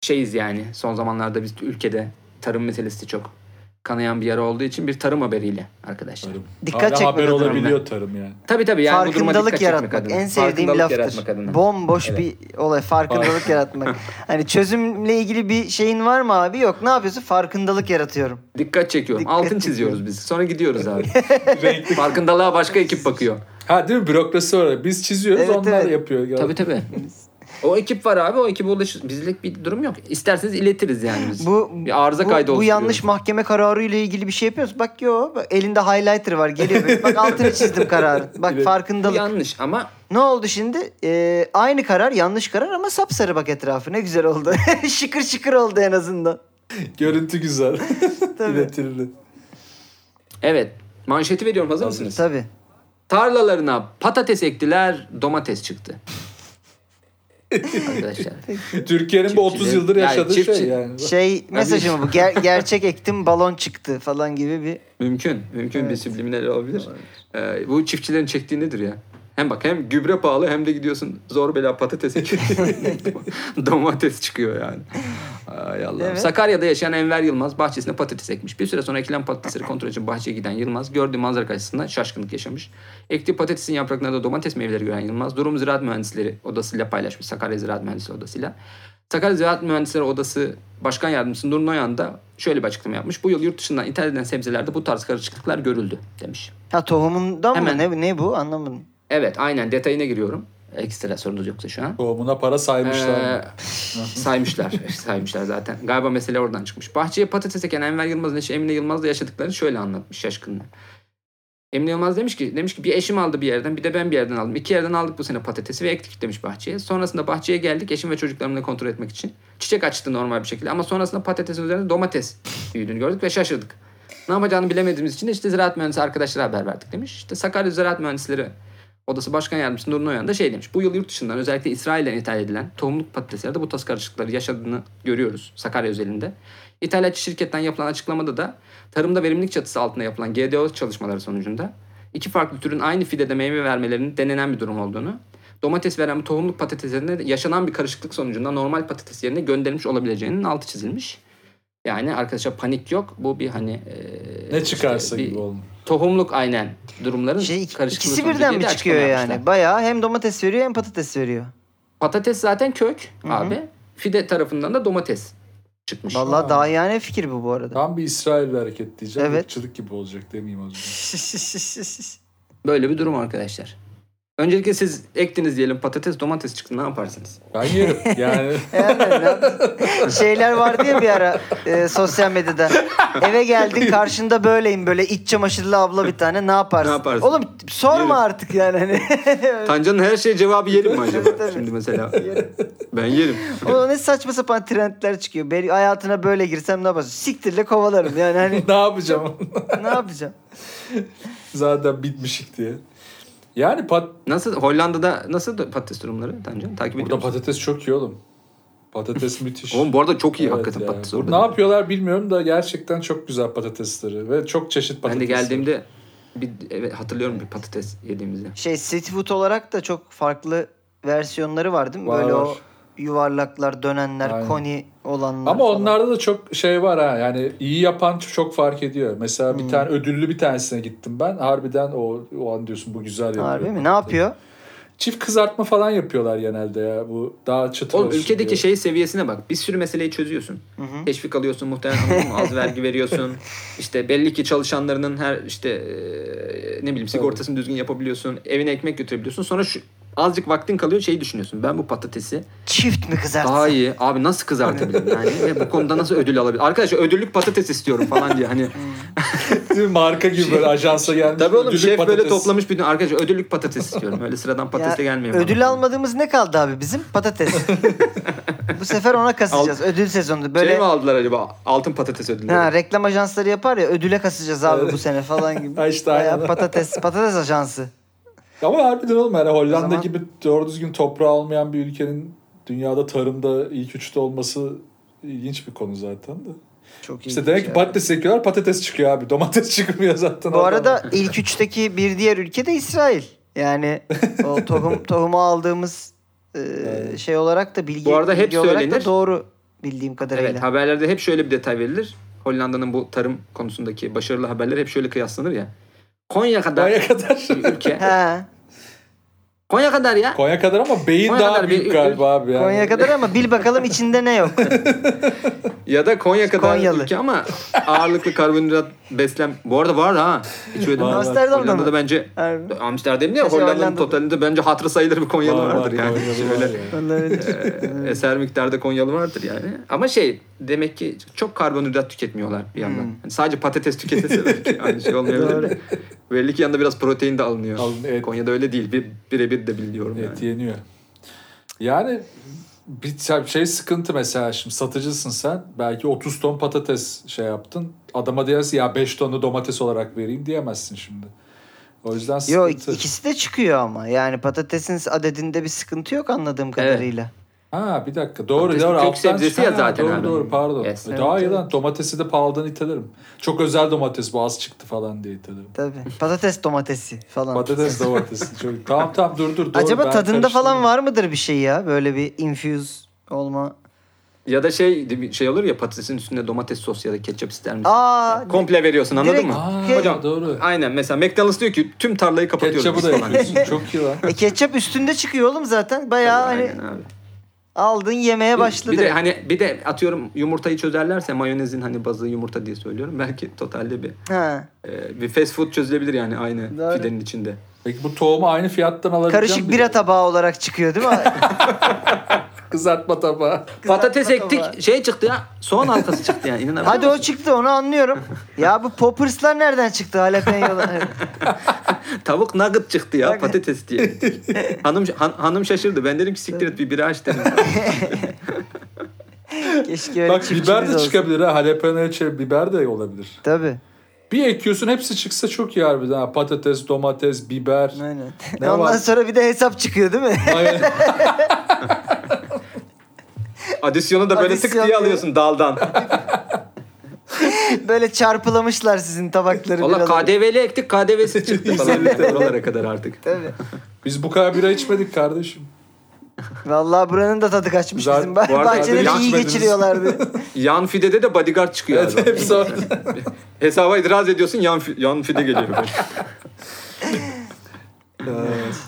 [SPEAKER 3] şeyiz yani son zamanlarda biz ülkede tarım meselesi çok kanayan bir yara olduğu için bir tarım haberiyle arkadaşlar.
[SPEAKER 2] Tarım.
[SPEAKER 1] Dikkat
[SPEAKER 2] Hala
[SPEAKER 1] çekmek
[SPEAKER 2] haber
[SPEAKER 1] adına.
[SPEAKER 2] olabiliyor tarım yani.
[SPEAKER 3] Tabii tabii yani bu duruma dikkat
[SPEAKER 1] farkındalık
[SPEAKER 3] çekmek
[SPEAKER 1] yaratmak
[SPEAKER 3] adına.
[SPEAKER 1] en sevdiğim
[SPEAKER 3] Farkındalık yaratmak
[SPEAKER 1] laftır.
[SPEAKER 3] adına.
[SPEAKER 1] Bomboş
[SPEAKER 3] Evet.
[SPEAKER 1] bir olay farkındalık yaratmak. Hani çözümle ilgili bir şeyin var mı abi? Yok. Ne yapıyorsun? Farkındalık yaratıyorum.
[SPEAKER 3] Dikkat çekiyorum.
[SPEAKER 1] Dikkat
[SPEAKER 3] Altın
[SPEAKER 1] çekiyorum.
[SPEAKER 3] çiziyoruz biz. Sonra gidiyoruz abi.
[SPEAKER 2] Renkli.
[SPEAKER 3] Farkındalığa başka ekip bakıyor.
[SPEAKER 2] Ha değil mi? Bürokrasi var. Biz çiziyoruz
[SPEAKER 1] Evet,
[SPEAKER 2] onlar
[SPEAKER 1] evet.
[SPEAKER 2] yapıyor.
[SPEAKER 3] Tabii tabii. O ekip var abi. O ekibe ulaş bizlik bir durum yok. İsterseniz iletiriz yani biz.
[SPEAKER 1] Bu
[SPEAKER 3] bir arıza
[SPEAKER 1] bu,
[SPEAKER 3] kaydı
[SPEAKER 1] bu
[SPEAKER 3] oluşturuyoruz.
[SPEAKER 1] yanlış mahkeme kararı ile ilgili bir şey yapıyoruz. Bak yo bak, elinde highlighter var geliyor. böyle. Bak altını çizdim kararın. Bak
[SPEAKER 2] Evet.
[SPEAKER 3] Bu
[SPEAKER 1] farkındalık.
[SPEAKER 3] yanlış ama
[SPEAKER 1] Ne oldu şimdi? Ee, aynı karar yanlış karar ama sapsarı bak etrafı. Ne güzel oldu. şıkır şıkır oldu en azından.
[SPEAKER 2] Görüntü güzel.
[SPEAKER 1] Tabii.
[SPEAKER 2] İletilir.
[SPEAKER 3] evet. Manşeti veriyorum hazır
[SPEAKER 2] Hazır.
[SPEAKER 3] mısınız?
[SPEAKER 1] Tabii.
[SPEAKER 3] Tarlalarına patates ektiler, domates çıktı. Arkadaşlar.
[SPEAKER 2] Türkiye'nin bu 30
[SPEAKER 3] Çiftçi-
[SPEAKER 2] yıldır
[SPEAKER 3] yani
[SPEAKER 2] yaşadığı
[SPEAKER 3] çiftçi-
[SPEAKER 2] şey yani.
[SPEAKER 1] Şey mesajı mı bu? Ger- gerçek ektim balon çıktı falan gibi bir
[SPEAKER 3] Mümkün. Mümkün bir
[SPEAKER 1] Evet.
[SPEAKER 3] subliminal olabilir. Ee, bu çiftçilerin çektiği nedir ya? Hem bak hem gübre pahalı hem de gidiyorsun zor bela patates ekiyorsun. Domates çıkıyor yani. Ay Allah'ım.
[SPEAKER 1] Evet.
[SPEAKER 3] Sakarya'da yaşayan Enver Yılmaz bahçesine patates ekmiş. Bir süre sonra ekilen patatesleri kontrol için bahçeye giden Yılmaz gördüğü manzara karşısında şaşkınlık yaşamış. Ektiği patatesin yapraklarında domates meyveleri gören Yılmaz durumu ziraat mühendisleri odasıyla paylaşmış. Sakarya Ziraat Mühendisleri Odası'yla. Sakarya Ziraat Mühendisleri Odası Başkan Yardımcısı Nur Noyan da şöyle bir açıklama yapmış. Bu yıl yurt dışından ithal edilen sebzelerde bu tarz karışıklıklar görüldü demiş.
[SPEAKER 1] Ha tohumundan
[SPEAKER 3] Hemen.
[SPEAKER 1] mı? Ne, ne bu? Anlamadım.
[SPEAKER 3] Evet aynen detayına giriyorum. Ekstra sorunuz yoksa şu an.
[SPEAKER 2] Tohumuna para saymışlar.
[SPEAKER 3] Ee, saymışlar. saymışlar zaten. Galiba mesele oradan çıkmış. Bahçeye patates eken Enver Yılmaz'ın eşi Emine Yılmaz'la yaşadıklarını şöyle anlatmış şaşkınlar. Emine Yılmaz demiş ki demiş ki bir eşim aldı bir yerden bir de ben bir yerden aldım. İki yerden aldık bu sene patatesi ve ektik demiş bahçeye. Sonrasında bahçeye geldik eşim ve çocuklarımla kontrol etmek için. Çiçek açtı normal bir şekilde ama sonrasında patatesin üzerinde domates büyüdüğünü gördük ve şaşırdık. Ne yapacağını bilemediğimiz için de işte ziraat mühendisi arkadaşlara haber verdik demiş. İşte Sakarya Ziraat Mühendisleri Odası Başkan Yardımcısı Nur Noyan da şey demiş. Bu yıl yurt dışından özellikle İsrail'den ithal edilen tohumluk patateslerde bu tarz karışıklıkları yaşadığını görüyoruz Sakarya özelinde. İthalatçı şirketten yapılan açıklamada da tarımda verimlilik çatısı altında yapılan GDO çalışmaları sonucunda iki farklı türün aynı fidede meyve vermelerinin denenen bir durum olduğunu, domates veren bu tohumluk patateslerinde de yaşanan bir karışıklık sonucunda normal patates yerine gönderilmiş olabileceğinin altı çizilmiş. Yani arkadaşlar panik yok. Bu bir hani eee,
[SPEAKER 2] ne çıkarsa
[SPEAKER 3] işte bir
[SPEAKER 2] gibi olmuş.
[SPEAKER 3] Tohumluk aynen durumların
[SPEAKER 1] Şey, ik-
[SPEAKER 3] karışıklığı
[SPEAKER 1] ikisi
[SPEAKER 3] sonucu
[SPEAKER 1] birden
[SPEAKER 3] diye
[SPEAKER 1] mi
[SPEAKER 3] de
[SPEAKER 1] çıkıyor
[SPEAKER 3] açıklama
[SPEAKER 1] yani?
[SPEAKER 3] yapmışlar.
[SPEAKER 1] Bayağı hem domates veriyor hem patates veriyor.
[SPEAKER 3] Patates zaten kök abi. Fide tarafından da domates çıkmış.
[SPEAKER 1] Vallahi
[SPEAKER 2] Aa.
[SPEAKER 1] daha yani fikir bu bu arada.
[SPEAKER 2] Tam bir İsrail hareket diyeceğim.
[SPEAKER 1] Evet.
[SPEAKER 2] Irkçılık gibi olacak demeyeyim o zaman.
[SPEAKER 3] Böyle bir durum arkadaşlar. Öncelikle siz ektiniz diyelim patates domates çıktı ne yaparsınız?
[SPEAKER 2] Ben yerim yani.
[SPEAKER 1] Yani lan, Şeyler vardı ya bir ara e, sosyal medyada. Eve geldin karşında böyleyim böyle iç çamaşırlı abla bir tane ne yaparsın?
[SPEAKER 3] Ne yaparsın?
[SPEAKER 1] Oğlum sorma
[SPEAKER 3] Yerim.
[SPEAKER 1] artık yani hani.
[SPEAKER 3] Tancan'ın her şey cevabı yerim mi acaba?
[SPEAKER 1] Tabii.
[SPEAKER 3] Şimdi mesela ben yerim.
[SPEAKER 1] Oğlum ne saçma sapan trendler çıkıyor. Beni hayatına böyle girsem ne yaparsın? Siktirle kovalarım yani hani
[SPEAKER 2] ne yapacağım?
[SPEAKER 1] ne yapacağım?
[SPEAKER 2] Zaten bitmişik diye. Yani pat
[SPEAKER 3] Nasıl Hollanda'da nasıl da patates durumları Tancan? Takip ediyor
[SPEAKER 2] burada
[SPEAKER 3] musun?
[SPEAKER 2] patates çok iyi oğlum. Patates müthiş.
[SPEAKER 3] Oğlum bu arada çok iyi
[SPEAKER 2] Evet
[SPEAKER 3] hakikaten
[SPEAKER 2] ya.
[SPEAKER 3] patates
[SPEAKER 2] Bu
[SPEAKER 3] orada.
[SPEAKER 2] Ne yapıyorlar bilmiyorum da gerçekten çok güzel patatesleri ve çok çeşit
[SPEAKER 3] ben de
[SPEAKER 2] patates.
[SPEAKER 3] geldiğimde bir evet, hatırlıyorum bir patates yediğimizde.
[SPEAKER 1] Şey street food olarak da çok farklı versiyonları var değil mi?
[SPEAKER 2] Var,
[SPEAKER 1] böyle
[SPEAKER 2] var.
[SPEAKER 1] o yuvarlaklar, dönenler,
[SPEAKER 2] Aynen.
[SPEAKER 1] koni olanlar.
[SPEAKER 2] Ama
[SPEAKER 1] falan.
[SPEAKER 2] onlarda da çok şey var ha yani iyi yapan çok fark ediyor. Mesela
[SPEAKER 3] Hmm.
[SPEAKER 2] bir tane ödüllü bir tanesine gittim ben. Harbiden o, o an diyorsun bu güzel yapıyor.
[SPEAKER 1] Harbi mi? Ne yapıyor?
[SPEAKER 2] Çift kızartma falan yapıyorlar genelde ya. Bu daha çıtır
[SPEAKER 3] Oğlum
[SPEAKER 2] olsun
[SPEAKER 3] ülkedeki
[SPEAKER 2] diye.
[SPEAKER 3] şey seviyesine bak. Bir sürü meseleyi çözüyorsun. Teşvik alıyorsun muhtemelen anladın mı? az vergi veriyorsun. İşte belli ki çalışanlarının her işte eee, ne bileyim sigortasını düzgün yapabiliyorsun. Evine ekmek götürebiliyorsun. Sonra şu azıcık vaktin kalıyor şeyi düşünüyorsun. Ben bu patatesi
[SPEAKER 1] Çift mi kızartsın?
[SPEAKER 3] daha iyi abi nasıl kızartabilirim yani ve bu konuda nasıl ödül alabilirim? Arkadaşlar ödüllük patates istiyorum falan diye hani
[SPEAKER 2] Değil mi? marka gibi böyle ajansa gelmiş.
[SPEAKER 3] Tabii oğlum
[SPEAKER 2] ödüllü
[SPEAKER 3] şef böyle
[SPEAKER 2] patates.
[SPEAKER 3] toplamış bir gün. Arkadaşlar ödüllük patates istiyorum. Öyle sıradan
[SPEAKER 1] Ya,
[SPEAKER 3] patatese gelmiyor. bana.
[SPEAKER 1] ödül almadığımız ne kaldı abi bizim? Patates. Bu sefer ona kasacağız. Ödül sezonunda böyle
[SPEAKER 3] Şey mi aldılar acaba? Altın patates ödülleri.
[SPEAKER 1] ha, reklam ajansları yapar ya ödüle kasacağız abi bu sene falan gibi.
[SPEAKER 2] Ha işte
[SPEAKER 1] Bayağı
[SPEAKER 2] aynen.
[SPEAKER 1] patates, patates ajansı.
[SPEAKER 2] Ama harbiden oğlum yani Hollanda
[SPEAKER 1] O zaman-
[SPEAKER 2] gibi doğru düzgün toprağı olmayan bir ülkenin dünyada tarımda ilk üçte olması ilginç bir konu zaten de.
[SPEAKER 1] Çok iyi.
[SPEAKER 2] İşte demek ki patates ekiyorlar patates çıkıyor abi. Domates çıkmıyor zaten.
[SPEAKER 1] Bu arada ilk üçteki bir diğer ülke de İsrail. Yani o tohum tohumu aldığımız e,
[SPEAKER 2] Evet.
[SPEAKER 1] şey olarak da bilgi,
[SPEAKER 3] Bu arada hep
[SPEAKER 1] bilgi olarak da
[SPEAKER 3] söylenir.
[SPEAKER 1] doğru bildiğim kadarıyla.
[SPEAKER 3] Evet haberlerde hep şöyle bir detay verilir. Hollanda'nın bu tarım konusundaki başarılı haberler hep şöyle kıyaslanır ya. Konya kadar
[SPEAKER 2] Konya kadar.
[SPEAKER 3] bir ülke.
[SPEAKER 1] Ha,
[SPEAKER 3] Konya kadar ya.
[SPEAKER 2] Konya kadar ama beyin
[SPEAKER 3] Konya
[SPEAKER 2] daha
[SPEAKER 3] kadar
[SPEAKER 2] büyük
[SPEAKER 3] bir-
[SPEAKER 2] galiba abi. Yani.
[SPEAKER 1] Konya kadar ama bil bakalım içinde ne yok.
[SPEAKER 3] Ya da Konya kadar
[SPEAKER 1] Konyalı.
[SPEAKER 3] ülke ama ağırlıklı karbonhidrat beslen... Bu arada var ha. Hiç öyle
[SPEAKER 2] Var, var.
[SPEAKER 1] Amsterdam'da mı?
[SPEAKER 3] Hollanda'da bence...
[SPEAKER 1] Harbi.
[SPEAKER 3] Amsterdam ne?
[SPEAKER 1] Mesela
[SPEAKER 3] Hollanda'nın
[SPEAKER 1] Hollanda'da.
[SPEAKER 3] totalinde bence hatırı sayılır bir Konyalı
[SPEAKER 2] Var, var,
[SPEAKER 3] vardır yani.
[SPEAKER 2] Konyalı var
[SPEAKER 3] Öyle-
[SPEAKER 2] yani.
[SPEAKER 1] Olabilir.
[SPEAKER 3] Ee, eser miktarda Konyalı vardır yani. Ama şey demek ki çok karbonhidrat tüketmiyorlar bir yandan. Hani sadece patates tüketese belki aynı şey olmayabilir.
[SPEAKER 1] Doğru.
[SPEAKER 3] de. Belli ki yanında biraz protein de alınıyor.
[SPEAKER 2] Alın- evet.
[SPEAKER 3] Konya'da öyle değil. Bir, birebir de biliyorum
[SPEAKER 2] Et
[SPEAKER 3] yani.
[SPEAKER 2] yeniyor. Yani bir şey sıkıntı mesela şimdi satıcısın sen. Belki 30 ton patates şey yaptın. Adama diyersin ya 5 tonu domates olarak vereyim diyemezsin şimdi. O yüzden sıkıntı.
[SPEAKER 1] Yo ik- ikisi de çıkıyor ama. Yani patatesin adedinde bir sıkıntı yok anladığım kadarıyla.
[SPEAKER 2] Ha bir dakika doğru
[SPEAKER 3] Patatesin
[SPEAKER 2] doğru.
[SPEAKER 3] kök
[SPEAKER 2] alttan
[SPEAKER 3] sebzesi
[SPEAKER 2] çıkan-
[SPEAKER 3] ya
[SPEAKER 2] Ha,
[SPEAKER 3] zaten
[SPEAKER 2] Doğru
[SPEAKER 3] abi.
[SPEAKER 2] doğru pardon.
[SPEAKER 3] Yes.
[SPEAKER 2] E,
[SPEAKER 1] Evet,
[SPEAKER 2] daha iyi
[SPEAKER 1] evet.
[SPEAKER 2] lan domatesi de pahalıdan itelerim. Çok özel domates bu az çıktı falan diye itelerim.
[SPEAKER 1] Tabii. Patates domatesi falan.
[SPEAKER 2] Patates domatesi. Çok... Tamam tamam dur dur. Doğru,
[SPEAKER 1] Acaba
[SPEAKER 2] ben
[SPEAKER 1] tadında falan
[SPEAKER 2] karıştırdım.
[SPEAKER 1] var mıdır bir şey ya? Böyle bir infuse olma.
[SPEAKER 3] Ya da şey şey olur ya patatesin üstünde domates sos ya da ketçap ister misin?
[SPEAKER 1] Aa,
[SPEAKER 3] Komple veriyorsun anladın
[SPEAKER 1] Direkt-
[SPEAKER 3] mı?
[SPEAKER 2] Aa,
[SPEAKER 1] Hocam,
[SPEAKER 2] doğru.
[SPEAKER 3] Aynen mesela McDonald's diyor ki tüm tarlayı kapatıyoruz.
[SPEAKER 2] Ketçapı da
[SPEAKER 3] biz falan.
[SPEAKER 2] yapıyorsun. Çok iyi lan.
[SPEAKER 1] e, ketçap üstünde çıkıyor oğlum zaten. Bayağı hani
[SPEAKER 3] Aynen abi.
[SPEAKER 1] aldın yemeye başladı.
[SPEAKER 3] Bir de hani bir de atıyorum yumurtayı çözerlerse mayonezin hani bazı yumurta diye söylüyorum. Belki totalde bir
[SPEAKER 1] ha.
[SPEAKER 3] Ee, bir fast food çözülebilir yani aynı
[SPEAKER 1] Doğru.
[SPEAKER 3] fidenin içinde.
[SPEAKER 2] Peki bu tohumu aynı fiyattan alabileceğim
[SPEAKER 1] Karışık bira tabağı olarak çıkıyor değil mi?
[SPEAKER 2] Kızartma tabağı.
[SPEAKER 3] Patates
[SPEAKER 1] Kızartma
[SPEAKER 3] ektik
[SPEAKER 1] tabağı.
[SPEAKER 3] şey çıktı ya soğan halkası çıktı yani inanabiliyor
[SPEAKER 1] Hadi o
[SPEAKER 3] musun?
[SPEAKER 1] çıktı onu anlıyorum. Ya bu popperslar nereden çıktı jalapeno'lar?
[SPEAKER 3] Tavuk nugget çıktı ya patates diye. hanım han- hanım şaşırdı ben dedim ki siktir et bir bira aç dedim.
[SPEAKER 1] Keşke öyle
[SPEAKER 2] Bak
[SPEAKER 1] çiftçimiz
[SPEAKER 2] biber de
[SPEAKER 1] olsa.
[SPEAKER 2] çıkabilir ha. Jalapeno çe- biber de olabilir.
[SPEAKER 1] Tabii.
[SPEAKER 2] Bir ekiyorsun hepsi çıksa çok iyi harbiden. ha. Patates, domates, biber.
[SPEAKER 1] Aynen.
[SPEAKER 2] Ne
[SPEAKER 1] Ondan
[SPEAKER 2] var?
[SPEAKER 1] sonra bir de hesap çıkıyor değil mi?
[SPEAKER 2] Aynen.
[SPEAKER 3] Adisyonu da böyle tık
[SPEAKER 1] Adisyon
[SPEAKER 3] diye
[SPEAKER 1] diye.
[SPEAKER 3] alıyorsun daldan.
[SPEAKER 1] Böyle çarpılamışlar sizin tabakları.
[SPEAKER 3] Valla
[SPEAKER 1] biraz.
[SPEAKER 3] KDV'li ektik KDV'siz çıktı falan. Oralara kadar artık.
[SPEAKER 1] Tabii.
[SPEAKER 2] Biz bu kadar bira içmedik kardeşim.
[SPEAKER 1] Vallahi buranın da tadı kaçmış
[SPEAKER 2] Zaten-
[SPEAKER 1] bizim.
[SPEAKER 2] bu
[SPEAKER 1] Bah-
[SPEAKER 3] arada
[SPEAKER 1] Bahçeleri iyi
[SPEAKER 2] yakmadınız.
[SPEAKER 1] geçiriyorlardı.
[SPEAKER 3] Yan fidede de bodyguard çıkıyor.
[SPEAKER 2] Evet
[SPEAKER 3] abi.
[SPEAKER 2] hepsi orada.
[SPEAKER 3] Hesaba itiraz ediyorsun yan, fi- yan fide geliyor.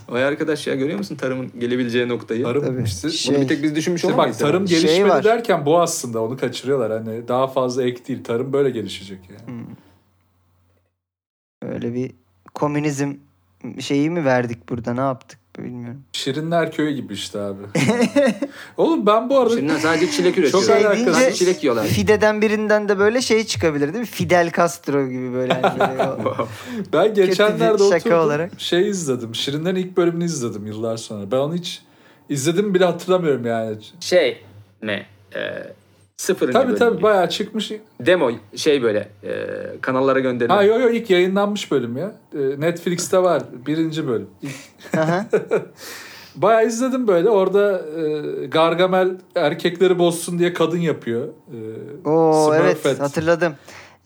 [SPEAKER 3] Vay arkadaş ya görüyor musun tarımın gelebileceği noktayı?
[SPEAKER 2] Tarım
[SPEAKER 1] Tabii.
[SPEAKER 2] işte.
[SPEAKER 1] Şey-
[SPEAKER 3] Bunu bir tek biz düşünmüş
[SPEAKER 2] İşte
[SPEAKER 3] olamayız.
[SPEAKER 2] bak tarım
[SPEAKER 1] Şey
[SPEAKER 2] gelişmedi
[SPEAKER 1] var.
[SPEAKER 2] derken bu aslında onu kaçırıyorlar. Hani daha fazla ek değil. Tarım böyle gelişecek yani.
[SPEAKER 1] Hmm. Öyle bir komünizm şeyi mi verdik burada ne yaptık bilmiyorum.
[SPEAKER 2] Şirinler köyü gibi işte abi. Oğlum ben bu arada
[SPEAKER 3] Şirinler sadece çilek üretiyor.
[SPEAKER 2] Çok alakasız.
[SPEAKER 1] Şey, deyince-
[SPEAKER 3] Sadece Şey çilek yiyorlar.
[SPEAKER 1] Fideden birinden de böyle şey çıkabilir değil mi? Fidel Castro gibi böyle. hani böyle o-
[SPEAKER 2] Ben geçenlerde
[SPEAKER 1] bir şaka
[SPEAKER 2] oturdum
[SPEAKER 1] olarak.
[SPEAKER 2] şey izledim. Şirinlerin ilk bölümünü izledim yıllar sonra. Ben onu hiç izledim bile hatırlamıyorum yani.
[SPEAKER 3] Şey mi? Ee, sıfırıncı
[SPEAKER 2] Tabii
[SPEAKER 3] bölüm
[SPEAKER 2] tabii
[SPEAKER 3] gibi.
[SPEAKER 2] bayağı çıkmış.
[SPEAKER 3] Demo şey böyle e, kanallara gönderilen.
[SPEAKER 2] Ha yo yo ilk yayınlanmış bölüm ya. Ee, Netflix'te var birinci bölüm.
[SPEAKER 1] Aha.
[SPEAKER 2] Bayağı izledim böyle. Orada e, Gargamel erkekleri bozsun diye kadın yapıyor. Ee,
[SPEAKER 1] Oo
[SPEAKER 2] Smurfette.
[SPEAKER 1] evet hatırladım.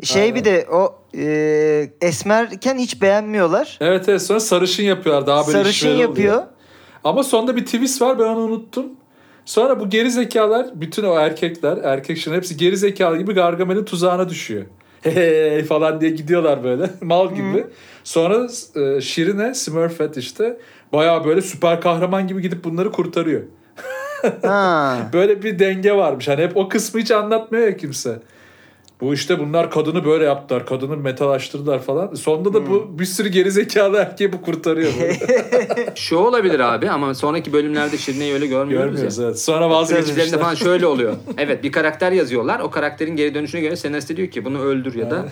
[SPEAKER 1] Şey
[SPEAKER 2] Aynen.
[SPEAKER 1] bir de o e, esmerken hiç beğenmiyorlar.
[SPEAKER 2] Evet evet sonra sarışın yapıyorlar. Daha böyle
[SPEAKER 1] Sarışın
[SPEAKER 2] işveren oluyor.
[SPEAKER 1] yapıyor.
[SPEAKER 2] Ama sonda bir twist var ben onu unuttum. Sonra bu geri zekalar bütün o erkekler, erkek şunun hepsi geri zekalı gibi Gargamel'in tuzağına düşüyor. Hey falan diye gidiyorlar böyle mal gibi. Sonra e, Şirine Smurfette işte bayağı böyle süper kahraman gibi gidip bunları kurtarıyor.
[SPEAKER 1] Ha.
[SPEAKER 2] Böyle bir denge varmış. Hani hep o kısmı hiç anlatmıyor ya kimse. Bu işte bunlar kadını böyle yaptılar. Kadını metalaştırdılar falan. Sonunda da bu bir sürü geri zekalı erkeği bu kurtarıyor. böyle.
[SPEAKER 3] Şu olabilir abi ama sonraki bölümlerde Şirine'yi öyle görmüyoruz,
[SPEAKER 2] Görmüyoruz
[SPEAKER 3] ya.
[SPEAKER 2] evet. Sonra
[SPEAKER 3] Seçicilerinde
[SPEAKER 2] vazgeçmişler.
[SPEAKER 3] falan şöyle oluyor. Evet bir karakter yazıyorlar. O karakterin geri dönüşüne göre senarist diyor ki bunu öldür ya da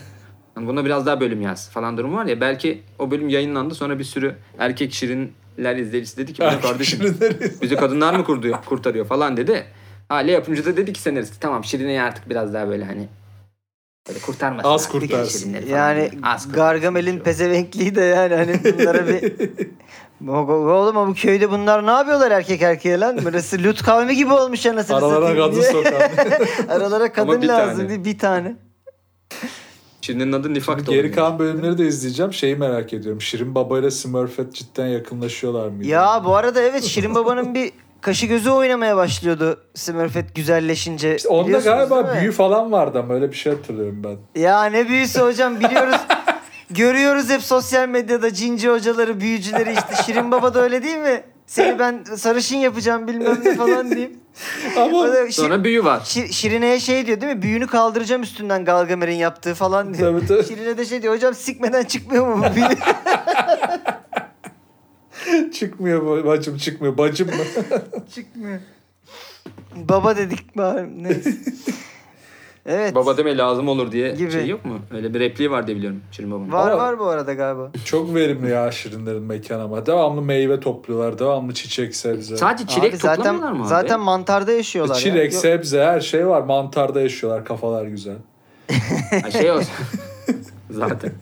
[SPEAKER 3] hani buna biraz daha bölüm yaz falan durum var ya. Belki o bölüm yayınlandı sonra bir sürü erkek şirinler izleyicisi dedi ki "Bu ne kardeşim
[SPEAKER 2] Şirinleri-
[SPEAKER 3] bizi kadınlar mı kurdu, kurtarıyor falan dedi. Aile yapımcı da dedi ki senarist tamam Şirine'yi artık biraz daha böyle hani böyle kurtarmasın.
[SPEAKER 2] Az
[SPEAKER 3] artık
[SPEAKER 2] kurtarsın.
[SPEAKER 3] Şirinleri falan
[SPEAKER 1] Yani
[SPEAKER 3] diye. Az kurtarsın
[SPEAKER 1] Gargamel'in
[SPEAKER 3] diyor.
[SPEAKER 1] pezevenkliği de yani hani bunlara bir... Oğlum ama bu köyde bunlar ne yapıyorlar erkek erkeğe lan? Burası lüt kavmi gibi olmuş anasını
[SPEAKER 2] Aralarına
[SPEAKER 1] satayım
[SPEAKER 2] kadın
[SPEAKER 1] diye.
[SPEAKER 2] sokan.
[SPEAKER 1] Aralara kadın
[SPEAKER 3] bir
[SPEAKER 1] lazım
[SPEAKER 3] tane.
[SPEAKER 1] diye bir tane.
[SPEAKER 3] Şirine'nin adı Nifak da
[SPEAKER 2] Geri
[SPEAKER 3] olabilir.
[SPEAKER 2] kalan bölümleri de izleyeceğim. Şeyi merak ediyorum. Şirin Baba ile Smurfette cidden yakınlaşıyorlar mıydı?
[SPEAKER 1] Ya bu arada evet Şirin Baba'nın bir kaşı gözü oynamaya başlıyordu Smurfette güzelleşince.
[SPEAKER 2] İşte onda
[SPEAKER 1] Biliyorsunuz
[SPEAKER 2] galiba
[SPEAKER 1] değil mi?
[SPEAKER 2] büyü falan vardı ama öyle bir şey hatırlıyorum ben.
[SPEAKER 1] Ya ne büyüsü hocam biliyoruz. Görüyoruz hep sosyal medyada cinci hocaları, büyücüleri işte. Şirin Baba da öyle değil mi? Seni ben sarışın yapacağım bilmem ne falan diyeyim. O
[SPEAKER 2] Ama
[SPEAKER 1] da Şir-
[SPEAKER 3] Sonra büyü var.
[SPEAKER 1] Şir- Şirine'ye şey diyor değil mi? Büyünü kaldıracağım üstünden Galgamer'in yaptığı falan diyor.
[SPEAKER 2] Tabii, tabii.
[SPEAKER 1] Şirine de şey diyor hocam sikmeden çıkmıyor mu bu büyü?
[SPEAKER 2] çıkmıyor bu- bacım çıkmıyor. Bacım mı?
[SPEAKER 1] çıkmıyor. Baba dedik bari neyse. Evet.
[SPEAKER 3] Baba demeye lazım olur diye
[SPEAKER 1] Gibi.
[SPEAKER 3] şey yok mu? Öyle bir repliği var diye biliyorum Şirin Baba'nın.
[SPEAKER 1] Var
[SPEAKER 2] Ama-
[SPEAKER 1] var bu arada galiba.
[SPEAKER 2] Çok verimli ya Şirinlerin mekanı ama. Devamlı meyve topluyorlar. Devamlı çiçek, sebze.
[SPEAKER 3] Sadece çilek
[SPEAKER 1] Abi zaten,
[SPEAKER 3] toplamıyorlar mı abi?
[SPEAKER 1] Zaten mantarda yaşıyorlar. ya.
[SPEAKER 2] E, Çilek,
[SPEAKER 1] Yok-
[SPEAKER 2] sebze her şey var. Mantarda yaşıyorlar. Kafalar güzel.
[SPEAKER 3] Ha, şey olsun. zaten.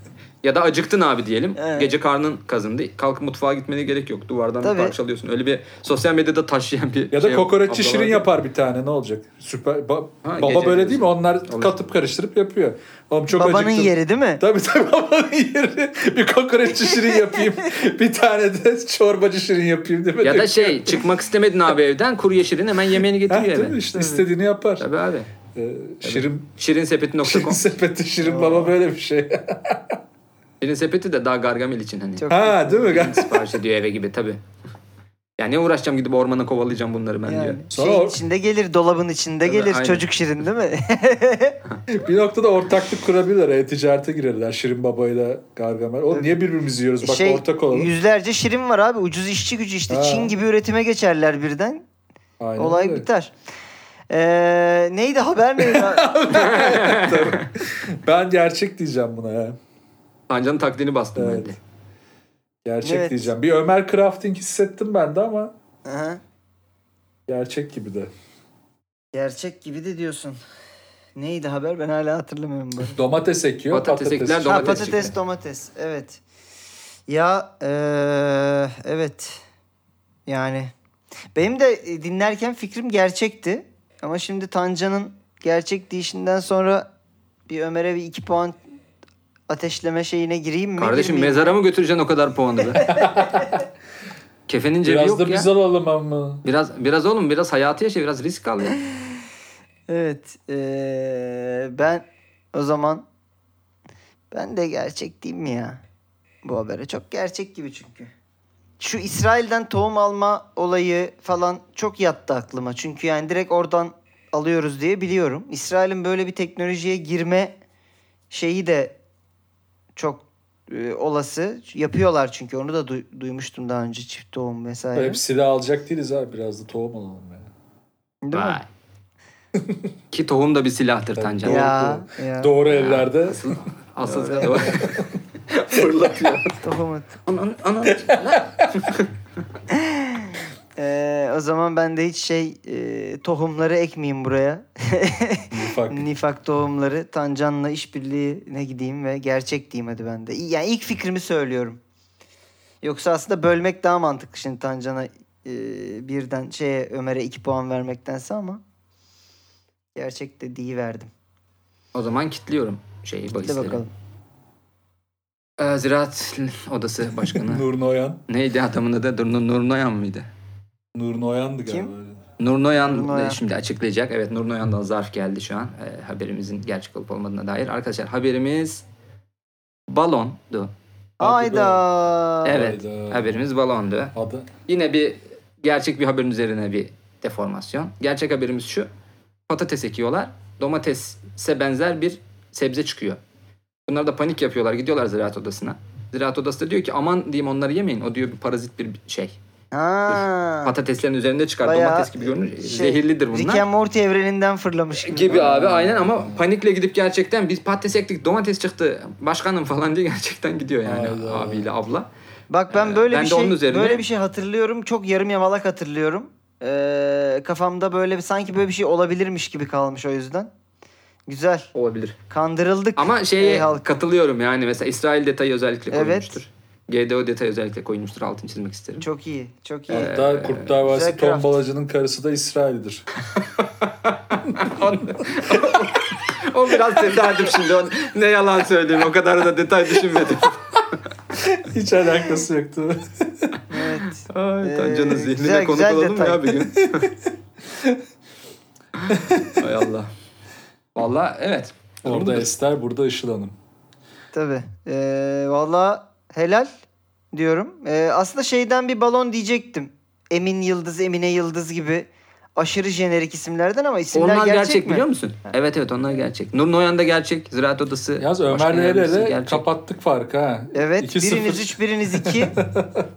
[SPEAKER 3] Ya da acıktın abi diyelim.
[SPEAKER 1] Evet.
[SPEAKER 3] Gece karnın kazındı. Kalkıp mutfağa gitmene gerek yok. Duvardan
[SPEAKER 1] Tabii.
[SPEAKER 3] bir parçalıyorsun. Öyle bir sosyal medyada taşıyan bir
[SPEAKER 2] Ya da
[SPEAKER 3] şey-
[SPEAKER 2] kokoreççi
[SPEAKER 3] abla
[SPEAKER 2] şirin
[SPEAKER 3] vardı.
[SPEAKER 2] yapar bir tane ne olacak? Süper. Ba-
[SPEAKER 3] Ha,
[SPEAKER 2] baba
[SPEAKER 3] gece
[SPEAKER 2] böyle değil mi? Onlar
[SPEAKER 3] Olur.
[SPEAKER 2] katıp karıştırıp yapıyor. Oğlum çok
[SPEAKER 1] Babanın
[SPEAKER 2] acıktım.
[SPEAKER 1] yeri değil mi?
[SPEAKER 2] Tabii tabii babanın yeri. Bir kokoreççi şirin yapayım. bir tane de çorbacı şirin yapayım değil mi?
[SPEAKER 3] Ya da şey çıkmak istemedin abi evden. Kurye şirin hemen yemeğini
[SPEAKER 2] Ha,
[SPEAKER 3] getiriyor
[SPEAKER 2] değil
[SPEAKER 3] eve.
[SPEAKER 2] mi? İşte istediğini yapar.
[SPEAKER 3] Tabii abi.
[SPEAKER 2] Ee, şirin şirin
[SPEAKER 3] Şirinsepeti.com.
[SPEAKER 2] sepeti şirin baba böyle bir şey.
[SPEAKER 3] Şirin sepeti de daha gargamel için hani.
[SPEAKER 1] Çok-
[SPEAKER 2] ha değil mi?
[SPEAKER 3] Sipariş ediyor eve gibi tabii. Ya ne uğraşacağım gidip ormana kovalayacağım bunları ben diyor.
[SPEAKER 1] Yani
[SPEAKER 2] Sonra
[SPEAKER 1] şeyin
[SPEAKER 2] o-
[SPEAKER 1] içinde gelir, dolabın içinde
[SPEAKER 3] Tabii,
[SPEAKER 1] gelir.
[SPEAKER 3] aynen.
[SPEAKER 1] Çocuk şirin değil mi?
[SPEAKER 2] bir noktada ortaklık kurabilirler. E-ticarete girerler. Şirin babayla Gargamel. Oğlum niye birbirimizi yiyoruz? Bak
[SPEAKER 1] şey,
[SPEAKER 2] ortak olalım.
[SPEAKER 1] yüzlerce şirin var abi. Ucuz işçi gücü işte.
[SPEAKER 2] Ha.
[SPEAKER 1] Çin gibi üretime geçerler birden.
[SPEAKER 2] Aynen
[SPEAKER 1] Olay
[SPEAKER 2] öyle.
[SPEAKER 1] biter. Ee, neydi haber neydi?
[SPEAKER 2] Ben gerçek diyeceğim buna ya.
[SPEAKER 3] Sanca'nın taklidini bastım
[SPEAKER 2] Evet.
[SPEAKER 3] ben de.
[SPEAKER 2] Gerçek
[SPEAKER 1] Evet.
[SPEAKER 2] diyeceğim. Bir Ömer Crafting hissettim ben de ama
[SPEAKER 1] Aha,
[SPEAKER 2] gerçek gibi de.
[SPEAKER 1] Gerçek gibi de diyorsun. Neydi haber ben hala hatırlamıyorum bunu.
[SPEAKER 2] Domates ekiyor.
[SPEAKER 3] Patates
[SPEAKER 2] Patates,
[SPEAKER 3] ekler,
[SPEAKER 1] Ha,
[SPEAKER 3] Domates
[SPEAKER 1] patates
[SPEAKER 3] gibi.
[SPEAKER 1] domates evet. Ya eee, evet yani benim de e, dinlerken fikrim gerçekti ama şimdi Tanca'nın gerçek deyişinden sonra bir Ömer'e bir iki puan ateşleme şeyine gireyim mi?
[SPEAKER 3] Kardeşim
[SPEAKER 1] girmeyeyim mi?
[SPEAKER 3] mezara mı götüreceksin o kadar puanı be? Kefenin cebi
[SPEAKER 2] Biraz
[SPEAKER 3] yok
[SPEAKER 2] da
[SPEAKER 3] ya.
[SPEAKER 2] biz alalım ama.
[SPEAKER 3] Biraz biraz oğlum biraz hayatı yaşa biraz risk al ya.
[SPEAKER 1] Evet eee, ben o zaman ben de gerçek diyeyim mi ya bu habere çok gerçek gibi çünkü. şu İsrail'den tohum alma olayı falan çok yattı aklıma. Çünkü yani direkt oradan alıyoruz diye biliyorum. İsrail'in böyle bir teknolojiye girme şeyi de çok e, olası. Yapıyorlar çünkü onu da du- duymuştum daha önce çift tohum vesaire.
[SPEAKER 2] Hep silah alacak değiliz abi. Biraz da tohum alalım ya.
[SPEAKER 1] Değil mi?
[SPEAKER 3] Vay. Ki tohum da bir silahtır Tancan.
[SPEAKER 1] Ya, ya.
[SPEAKER 2] Doğru ellerde.
[SPEAKER 3] Asıl fırlatıyor.
[SPEAKER 1] tohum at.
[SPEAKER 3] Anan, anan.
[SPEAKER 1] Ee, o zaman ben de hiç şey e, tohumları ekmeyeyim buraya.
[SPEAKER 2] Ufak.
[SPEAKER 1] Nifak tohumları Tancan'la işbirliğine gideyim ve gerçek diyeyim hadi ben de. İ- Yani ilk fikrimi söylüyorum. Yoksa aslında bölmek daha mantıklı şimdi Tancan'a e, birden şeye Ömer'e iki puan vermektense ama gerçek dediği verdim.
[SPEAKER 3] O zaman kilitliyorum şeyi
[SPEAKER 1] Hadi
[SPEAKER 3] bahisleri.
[SPEAKER 1] bakalım.
[SPEAKER 3] Ee, Ziraat Odası Başkanı.
[SPEAKER 2] Nur Noyan.
[SPEAKER 3] Neydi adamın adı? Nur, Nur Noyan mıydı?
[SPEAKER 2] Nur Noyan'dı
[SPEAKER 1] Kim?
[SPEAKER 2] galiba.
[SPEAKER 3] Nur Noyan,
[SPEAKER 1] Nur Noyan.
[SPEAKER 3] e, şimdi açıklayacak. Evet Nur Noyan'dan zarf geldi şu an. Ee, haberimizin gerçek olup olmadığına dair. Arkadaşlar haberimiz balondu.
[SPEAKER 2] Hadi be.
[SPEAKER 1] Ayda.
[SPEAKER 3] Evet
[SPEAKER 2] Hayda.
[SPEAKER 3] haberimiz balondu.
[SPEAKER 2] Adı
[SPEAKER 3] Yine bir gerçek bir haberin üzerine bir deformasyon. Gerçek haberimiz şu. Patates ekiyorlar. Domatese benzer bir sebze çıkıyor. Bunlar da panik yapıyorlar. Gidiyorlar ziraat odasına. Ziraat odası da diyor ki aman diyeyim onları yemeyin. O diyor bir parazit bir şey.
[SPEAKER 1] Ha.
[SPEAKER 3] Patateslerin üzerinde çıkar.
[SPEAKER 1] Bayağı
[SPEAKER 3] Domates gibi görünür.
[SPEAKER 1] şey,
[SPEAKER 3] Zehirlidir bunlar. E,
[SPEAKER 1] Rick and Morty evreninden fırlamış gibi.
[SPEAKER 3] gibi abi aynen ama panikle gidip gerçekten biz patates ektik domates çıktı başkanım falan diye gerçekten gidiyor yani
[SPEAKER 2] Hayda.
[SPEAKER 3] abiyle abla.
[SPEAKER 1] Bak ben böyle
[SPEAKER 3] Ee, ben
[SPEAKER 1] bir
[SPEAKER 3] de onun
[SPEAKER 1] şey
[SPEAKER 3] üzerine-
[SPEAKER 1] böyle bir şey hatırlıyorum. Çok yarım yamalak hatırlıyorum. Ee, kafamda böyle bir- sanki böyle bir şey olabilirmiş gibi kalmış o yüzden. Güzel.
[SPEAKER 3] Olabilir.
[SPEAKER 1] Kandırıldık.
[SPEAKER 3] Ama şey- şeye
[SPEAKER 1] Ey E, halk.
[SPEAKER 3] katılıyorum yani mesela İsrail detayı özellikle
[SPEAKER 1] Evet.
[SPEAKER 3] koymuştur. GDO detayı özellikle koymuştur altını çizmek isterim.
[SPEAKER 1] Çok iyi.
[SPEAKER 3] Ee,
[SPEAKER 1] Çok iyi.
[SPEAKER 2] hatta Kurt Davası
[SPEAKER 1] Güzel craft.
[SPEAKER 2] tombalacının karısı da İsrail'dir.
[SPEAKER 3] o biraz tesadüf şimdi o- ne yalan söyleyeyim o kadar da detay düşünmedim.
[SPEAKER 2] Hiç alakası yoktu.
[SPEAKER 1] Evet.
[SPEAKER 3] Ay
[SPEAKER 1] Ee,
[SPEAKER 3] Tancan'ın zihnine
[SPEAKER 1] güzel-
[SPEAKER 3] konuk
[SPEAKER 1] güzel
[SPEAKER 3] olalım
[SPEAKER 1] detay.
[SPEAKER 3] ya bir gün. Hay Allah. Valla evet.
[SPEAKER 2] Orada Ester, burada Işıl Hanım.
[SPEAKER 1] Tabii. Ee, Valla helal diyorum. Ee, aslında şeyden bir balon diyecektim. Emin Yıldız, Emine Yıldız gibi aşırı jenerik isimlerden ama isimler
[SPEAKER 3] onlar gerçek,
[SPEAKER 1] gerçek, mi?
[SPEAKER 3] biliyor musun? Evet evet onlar gerçek. Nur Noyan da gerçek. Ziraat Odası.
[SPEAKER 2] Yaz
[SPEAKER 3] Başkan
[SPEAKER 2] Ömer'le el
[SPEAKER 3] Yardımcısı
[SPEAKER 2] ele
[SPEAKER 3] gerçek.
[SPEAKER 2] kapattık farkı ha.
[SPEAKER 1] Evet.
[SPEAKER 2] 2-0.
[SPEAKER 1] biriniz 3, biriniz 2.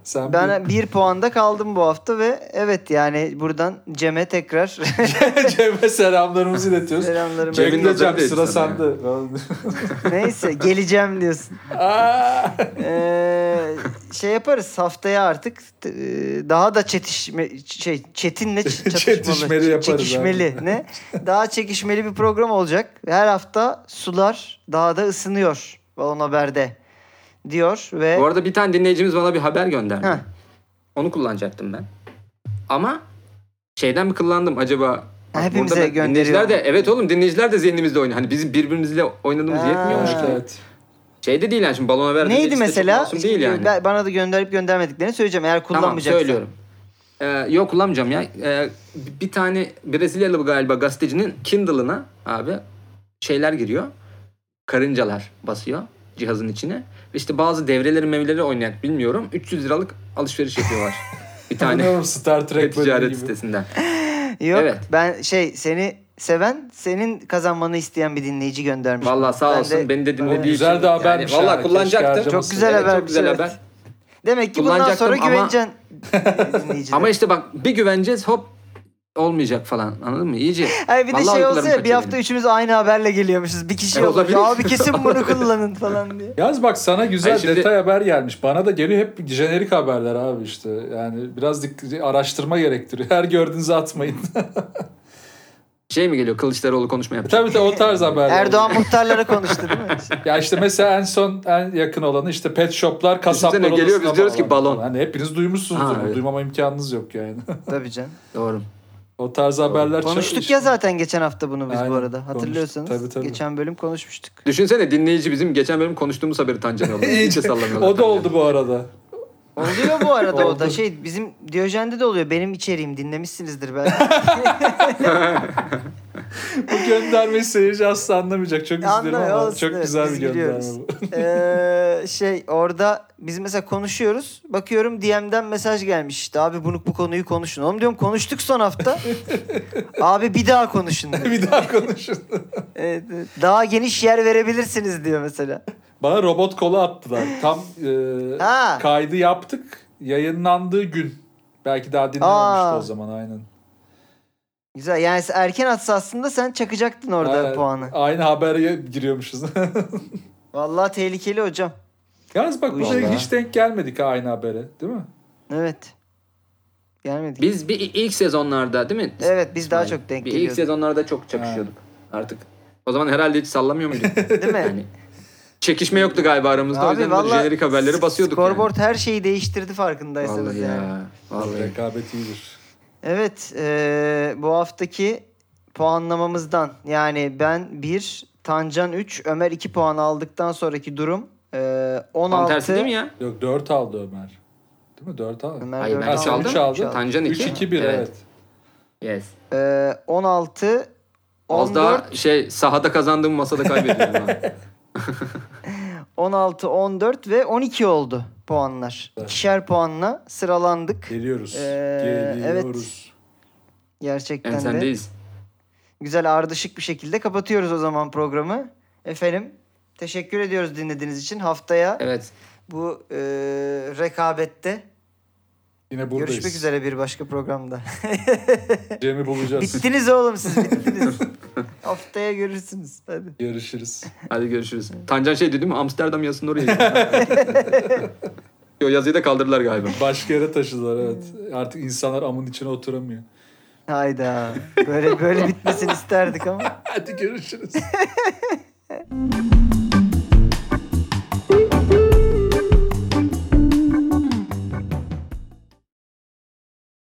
[SPEAKER 2] Sen ben...
[SPEAKER 1] ben bir puanda kaldım bu hafta ve evet yani buradan Cem'e tekrar
[SPEAKER 2] Cem'e selamlarımızı iletiyoruz.
[SPEAKER 1] selamlarımı.
[SPEAKER 3] Cem'in
[SPEAKER 2] Cem'in de
[SPEAKER 3] Cem'in de
[SPEAKER 2] Cem
[SPEAKER 3] değil
[SPEAKER 2] sıra
[SPEAKER 3] sana
[SPEAKER 2] sende.
[SPEAKER 1] Neyse geleceğim diyorsun.
[SPEAKER 2] Aa!
[SPEAKER 1] Ee, şey yaparız haftaya artık e, daha da çetişme şey çetinle ç- çatışmalı.
[SPEAKER 2] Çetişmeli yaparız
[SPEAKER 1] Çekişmeli
[SPEAKER 2] abi.
[SPEAKER 1] ne? Daha çekişmeli bir program olacak. Her hafta sular daha da ısınıyor Balon Haber'de diyor ve
[SPEAKER 3] Bu arada bir tane dinleyicimiz bana bir haber gönderdi.
[SPEAKER 1] Heh.
[SPEAKER 3] Onu kullanacaktım ben. Ama şeyden mi kullandım acaba? Bak
[SPEAKER 1] Hepimize
[SPEAKER 3] burada da
[SPEAKER 1] gönderiyor.
[SPEAKER 3] Dinleyiciler de evet oğlum dinleyiciler de zihnimizde oynuyor. Hani bizim birbirimizle oynadığımız
[SPEAKER 1] Ha.
[SPEAKER 3] yetmiyormuş ki.
[SPEAKER 2] evet.
[SPEAKER 3] Şey de değil yani şimdi balona verdi.
[SPEAKER 1] neydi mesela?
[SPEAKER 3] Değil yani.
[SPEAKER 1] Ben- Bana da gönderip göndermediklerini söyleyeceğim eğer
[SPEAKER 3] Tamam
[SPEAKER 1] kullanmayacaksan.
[SPEAKER 3] söylüyorum. Ee, yok kullanmayacağım ya. Ee, bir tane Brezilyalı galiba gazetecinin Kindle'ına abi şeyler giriyor. Karıncalar basıyor cihazın içine. İşte bazı devreleri mevleri oynayan bilmiyorum 300 liralık alışveriş yapıyorlar. bir tane
[SPEAKER 2] Anlıyorum Star Trek bölümü
[SPEAKER 3] ticaret
[SPEAKER 2] gibi.
[SPEAKER 3] sitesinden.
[SPEAKER 1] Yok
[SPEAKER 3] Evet.
[SPEAKER 1] ben şey seni seven senin kazanmanı isteyen bir dinleyici göndermiş.
[SPEAKER 3] Vallahi sağ
[SPEAKER 1] Ben
[SPEAKER 3] olsun
[SPEAKER 1] de-
[SPEAKER 3] beni de dinlediği
[SPEAKER 2] Güzel
[SPEAKER 3] için.
[SPEAKER 2] de habermiş
[SPEAKER 3] Vallahi
[SPEAKER 2] ha, keşke
[SPEAKER 3] kullanacaktım.
[SPEAKER 2] harcamasaydı.
[SPEAKER 1] Çok güzel haber,
[SPEAKER 3] Çok güzel
[SPEAKER 1] evet.
[SPEAKER 3] haber.
[SPEAKER 1] Demek ki bundan
[SPEAKER 3] Kullanacaktım
[SPEAKER 1] sonra
[SPEAKER 3] ama-
[SPEAKER 1] güveneceksin dinleyicilere.
[SPEAKER 3] Ama işte bak bir güveneceğiz hop olmayacak falan anladın mı? İyice.
[SPEAKER 1] Hayır bir de
[SPEAKER 3] Vallahi
[SPEAKER 1] şey olsa
[SPEAKER 3] uykularım
[SPEAKER 1] ya, bir
[SPEAKER 3] kaçıyor
[SPEAKER 1] hafta üçümüz aynı haberle geliyormuşuz. Bir kişi
[SPEAKER 3] E,
[SPEAKER 1] olur.
[SPEAKER 3] olabilir.
[SPEAKER 1] Ya Abi kesin bunu kullanın falan diye.
[SPEAKER 2] Yaz bak sana güzel
[SPEAKER 3] Hayır, şimdi-
[SPEAKER 2] detay haber gelmiş. Bana da geliyor hep jenerik haberler abi işte. Yani biraz dik- araştırma gerektiriyor. Her gördüğünüzü atmayın.
[SPEAKER 3] Şey mi geliyor Kılıçdaroğlu konuşma yapacak.
[SPEAKER 2] tabii tabii o tarz haberler.
[SPEAKER 1] Erdoğan muhtarlara konuştu değil mi?
[SPEAKER 2] Ya işte mesela en son en yakın olanı işte pet shoplar, kasaplar
[SPEAKER 3] Düşünsene geliyor,
[SPEAKER 2] odasına
[SPEAKER 3] biz diyoruz ki
[SPEAKER 2] bağlandı.
[SPEAKER 3] balon.
[SPEAKER 2] Hani hepiniz duymuşsunuzdur.
[SPEAKER 3] Ha,
[SPEAKER 2] bunu.
[SPEAKER 3] evet.
[SPEAKER 2] Duymama imkanınız yok yani.
[SPEAKER 1] Tabii canım.
[SPEAKER 3] Doğru.
[SPEAKER 2] o tarz haberler çok-
[SPEAKER 1] Konuştuk ya zaten geçen hafta bunu biz
[SPEAKER 2] Aynen,
[SPEAKER 1] bu arada.
[SPEAKER 2] konuştuk.
[SPEAKER 1] Hatırlıyorsanız.
[SPEAKER 2] Tabii, tabii.
[SPEAKER 1] Geçen bölüm konuşmuştuk.
[SPEAKER 3] Düşünsene dinleyici bizim geçen bölüm konuştuğumuz haberi Tancan oldu. İyice sallanıyorlar.
[SPEAKER 2] O da oldu bu arada.
[SPEAKER 1] Oluyor bu arada o da.
[SPEAKER 2] Oldu.
[SPEAKER 1] Şey bizim Diyojen'de de oluyor. Benim içeriğim dinlemişsinizdir belki.
[SPEAKER 2] Bu göndermeyi seyirci asla anlamayacak. Çok üzülürüm
[SPEAKER 1] Anlamıyor,
[SPEAKER 2] ama
[SPEAKER 1] olsun,
[SPEAKER 2] çok
[SPEAKER 1] evet,
[SPEAKER 2] güzel
[SPEAKER 1] biz
[SPEAKER 2] bir gönderme
[SPEAKER 1] biliyoruz.
[SPEAKER 2] bu.
[SPEAKER 1] Ee, şey orada biz mesela konuşuyoruz. Bakıyorum DM'den mesaj gelmiş işte. Abi bunu bu konuyu konuşun. Oğlum diyorum konuştuk son hafta. Abi bir daha konuşun. diyor.
[SPEAKER 2] bir daha konuşun.
[SPEAKER 1] Evet, evet. Daha geniş yer verebilirsiniz diyor mesela.
[SPEAKER 2] Bana robot kolu attılar. Tam e,
[SPEAKER 1] Ha.
[SPEAKER 2] kaydı yaptık. Yayınlandığı gün. Belki daha dinlememişti
[SPEAKER 1] Aa.
[SPEAKER 2] o zaman aynen.
[SPEAKER 1] Güzel. Yani erken atsa aslında sen çakacaktın orada
[SPEAKER 2] Aynen.
[SPEAKER 1] puanı.
[SPEAKER 2] Aynı habere giriyormuşuz.
[SPEAKER 1] Vallahi tehlikeli hocam.
[SPEAKER 2] Yalnız bak burada
[SPEAKER 3] Vallahi.
[SPEAKER 2] hiç denk gelmedik ha aynı habere. Değil mi?
[SPEAKER 1] Evet. Gelmedi.
[SPEAKER 3] Biz bir ilk sezonlarda değil mi?
[SPEAKER 1] Evet biz daha
[SPEAKER 3] İsmail?
[SPEAKER 1] çok denk
[SPEAKER 3] Bir ilk
[SPEAKER 1] geliyoruz.
[SPEAKER 3] sezonlarda çok çakışıyorduk artık. O zaman herhalde hiç sallamıyor muyduk?
[SPEAKER 1] Değil mi?
[SPEAKER 3] yani çekişme yoktu galiba aramızda. o yüzden böyle
[SPEAKER 1] vallahi
[SPEAKER 3] jenerik haberleri basıyorduk.
[SPEAKER 1] Scoreboard her şeyi değiştirdi
[SPEAKER 3] yani.
[SPEAKER 1] farkındaysanız
[SPEAKER 3] Vallahi
[SPEAKER 1] yani.
[SPEAKER 3] ya. Vallahi.
[SPEAKER 2] Rekabet iyidir.
[SPEAKER 1] Evet, eee, bu haftaki puanlamamızdan yani ben 1, Tancan 3, Ömer 2 puan aldıktan sonraki durum e, eee, 16.
[SPEAKER 3] Tam tersi değil mi ya?
[SPEAKER 2] Yok 4 aldı Ömer. Değil mi? 4 aldı.
[SPEAKER 1] Ömer
[SPEAKER 3] Hayır,
[SPEAKER 1] dört
[SPEAKER 3] ben
[SPEAKER 1] aldı.
[SPEAKER 3] çaldım.
[SPEAKER 1] Üç
[SPEAKER 2] Üç aldı.
[SPEAKER 3] Tancan 2.
[SPEAKER 2] 3-2-1 evet.
[SPEAKER 3] Evet.
[SPEAKER 4] Yes.
[SPEAKER 1] Ee, 16
[SPEAKER 3] Az
[SPEAKER 1] 14
[SPEAKER 3] daha şey sahada kazandığım masada kaybediyorum. ha.
[SPEAKER 1] 16 14 ve 12 oldu puanlar. İkişer puanla sıralandık.
[SPEAKER 2] Geliyoruz.
[SPEAKER 1] Ee,
[SPEAKER 2] Geliyoruz.
[SPEAKER 1] Gerçekten de.
[SPEAKER 3] Ensemdeyiz.
[SPEAKER 1] güzel ardışık bir şekilde kapatıyoruz o zaman programı. Efendim teşekkür ediyoruz dinlediğiniz için. Haftaya
[SPEAKER 3] Evet.
[SPEAKER 1] bu e, rekabette
[SPEAKER 2] Yine buradayız.
[SPEAKER 1] görüşmek üzere bir başka programda.
[SPEAKER 2] Cem'i bulacağız.
[SPEAKER 1] bittiniz oğlum siz bittiniz. Haftaya görürsünüz. Hadi.
[SPEAKER 2] Görüşürüz.
[SPEAKER 3] Hadi görüşürüz. Tancan şey dedi değil mi? Amsterdam yazısının oraya gidiyor. Yo yazıyı da kaldırdılar galiba.
[SPEAKER 2] Başka yere taşıdılar evet. Artık insanlar amın içine oturamıyor.
[SPEAKER 1] Hayda. Böyle böyle bitmesini isterdik ama.
[SPEAKER 2] Hadi görüşürüz.